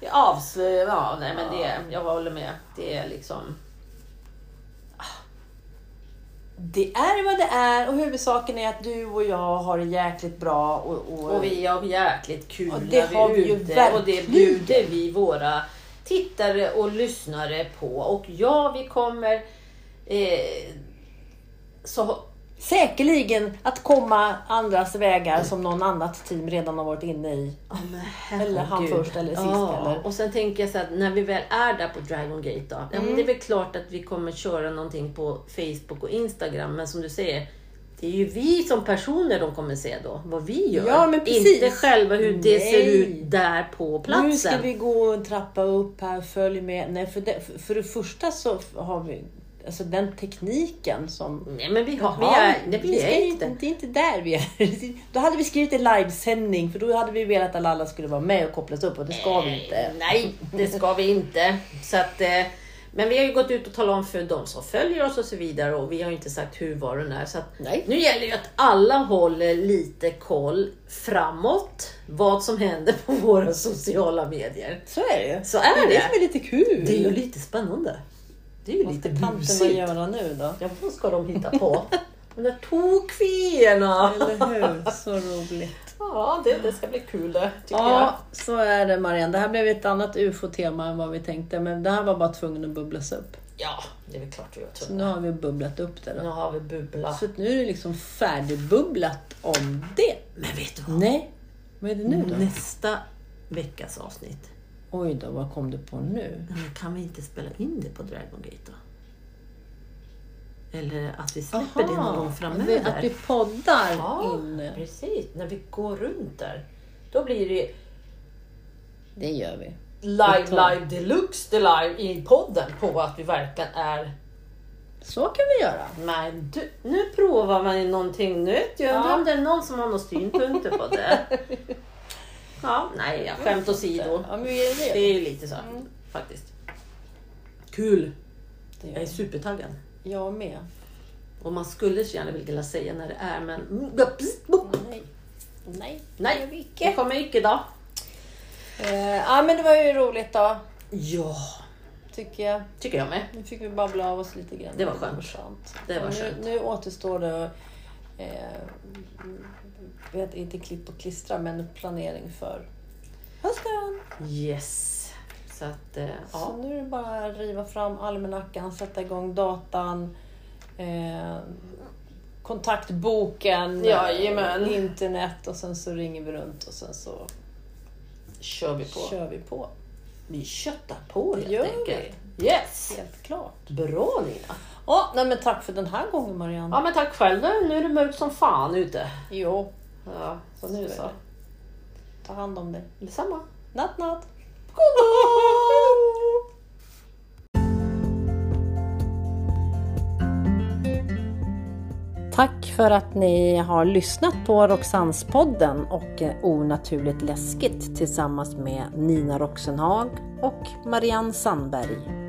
Speaker 2: Det avslöjar, ja, nej men det, jag håller med. Det är liksom,
Speaker 1: Det är vad det är och huvudsaken är att du och jag har det jäkligt bra. Och, och,
Speaker 2: och vi har jäkligt kul
Speaker 1: Ja, det
Speaker 2: när vi
Speaker 1: har vi ju
Speaker 2: är ute och det
Speaker 1: verkligen.
Speaker 2: bjuder vi våra tittare och lyssnare på. Och ja, vi kommer eh, så
Speaker 1: Säkerligen att komma andras vägar som någon annat team redan har varit inne i.
Speaker 2: Ja, men herregud.
Speaker 1: Eller han först eller sist, eller?
Speaker 2: Och sen tänker jag så att när vi väl är där på Dragon Gate då. Ja,
Speaker 1: Mm.
Speaker 2: men det är väl klart att vi kommer köra någonting på Facebook och Instagram. Men som du säger, det är ju vi som personer de kommer se då. Vad vi gör.
Speaker 1: Ja, men precis.
Speaker 2: Inte själva hur det ser
Speaker 1: Nej.
Speaker 2: ut där på platsen.
Speaker 1: Nu ska vi gå en trappa upp här, följ med. Nej, för, det, för det första så har vi alltså den tekniken som...
Speaker 2: Nej men vi, har, vi
Speaker 1: Ja,
Speaker 2: är, nej, vi
Speaker 1: vi ska
Speaker 2: är
Speaker 1: ju-
Speaker 2: inte.
Speaker 1: Det är inte där vi är. [laughs] Då hade vi skrivit en livesändning för då hade vi velat att alla skulle vara med och kopplas upp och det ska vi inte.
Speaker 2: Eh, Nej, det ska vi inte. Så att, eh, men vi har ju gått ut och talat om för de som följer oss och så vidare och vi har ju inte sagt hur var den är. Så att
Speaker 1: Nej.
Speaker 2: nu gäller ju att alla håller lite koll framåt vad som händer på våra sociala medier.
Speaker 1: Så är det ju.
Speaker 2: Så är
Speaker 1: Det är
Speaker 2: det.
Speaker 1: det som är lite kul.
Speaker 2: Det är ju lite spännande. Det är ju
Speaker 1: Vad
Speaker 2: lite
Speaker 1: ska tanterna
Speaker 2: busigt.
Speaker 1: göra nu då?
Speaker 2: Ja, vad ska de hitta på? [laughs] De där tokfierna!
Speaker 1: Eller hur? Så roligt.
Speaker 2: Ja, det, det ska bli kul det, tycker
Speaker 1: [laughs]
Speaker 2: jag.
Speaker 1: Ja, så är det Marianne. Det här blev ett annat ufo-tema än vad vi tänkte, men det här var bara tvungen att bubblas upp.
Speaker 2: Ja, det är väl klart vi gör. tror
Speaker 1: Så nu har vi bubblat upp det
Speaker 2: jag.
Speaker 1: då.
Speaker 2: Nu har vi bubbla.
Speaker 1: Så att nu är det liksom färdigbubblat om det.
Speaker 2: Men vet du vad?
Speaker 1: Nej, vad är det nu då?
Speaker 2: Nästa veckas avsnitt.
Speaker 1: Oj då, vad kom du på nu?
Speaker 2: Ja, Men kan vi inte spela in det på Dragon Gate då? Eller att vi släpper det någon gång
Speaker 1: vi-
Speaker 2: framöver?
Speaker 1: Att vi poddar
Speaker 2: ja,
Speaker 1: in.
Speaker 2: precis. När vi går runt där. Då blir det
Speaker 1: Det gör vi.
Speaker 2: live,
Speaker 1: Vi tar-
Speaker 2: live deluxe live i podden på att vi verkligen är...
Speaker 1: Så kan vi göra.
Speaker 2: Men du, nu provar man ju någonting nytt. Jag undrar
Speaker 1: Ja.
Speaker 2: om det är någon som har några synpunkter på [laughs] det. Ja, nej, ja, skämt åsido.
Speaker 1: Ja, men vi gör det.
Speaker 2: Det är ju lite så faktiskt. Kul!
Speaker 1: Det gör
Speaker 2: Jag är
Speaker 1: vi.
Speaker 2: supertaggad.
Speaker 1: Jag med.
Speaker 2: Och man skulle så gärna vilja säga när det är, men...
Speaker 1: Nej. Nej,
Speaker 2: Nej.
Speaker 1: det gör vi icke.
Speaker 2: Det kommer icke då.
Speaker 1: Eh, ja, men det var ju roligt då,
Speaker 2: Ja,
Speaker 1: tycker jag.
Speaker 2: tycker jag med.
Speaker 1: Nu fick vi babbla av oss lite grann.
Speaker 2: Det var skönt. Det var
Speaker 1: Och nu,
Speaker 2: skönt.
Speaker 1: Nu återstår det att, eh, vet, inte klipp och klistra, men planering för hösten.
Speaker 2: Yes. Så att, eh,
Speaker 1: Så
Speaker 2: ja.
Speaker 1: nu är det bara att riva fram almanackan, sätta igång datan, eh, kontaktboken,
Speaker 2: Jajamän.
Speaker 1: eh, internet och sen så ringer vi runt och sen så
Speaker 2: Kör vi på.
Speaker 1: kör vi på.
Speaker 2: Vi köttar på
Speaker 1: Det
Speaker 2: helt
Speaker 1: gör
Speaker 2: enkelt. Yes!
Speaker 1: Helt klart.
Speaker 2: Bra Nina.
Speaker 1: Ja, nej men tack för den här gången Marianne.
Speaker 2: Ja men tack själv. Nu nu är det mörkt som fan ute.
Speaker 1: Jo,
Speaker 2: Ja, så nu så.
Speaker 1: ta hand om dig.
Speaker 2: Detsamma.
Speaker 1: Natt natt! Tack för att ni har lyssnat på Roxannespodden och eh, Onaturligt läskigt tillsammans med Nina Roxenhag och Marianne Sandberg.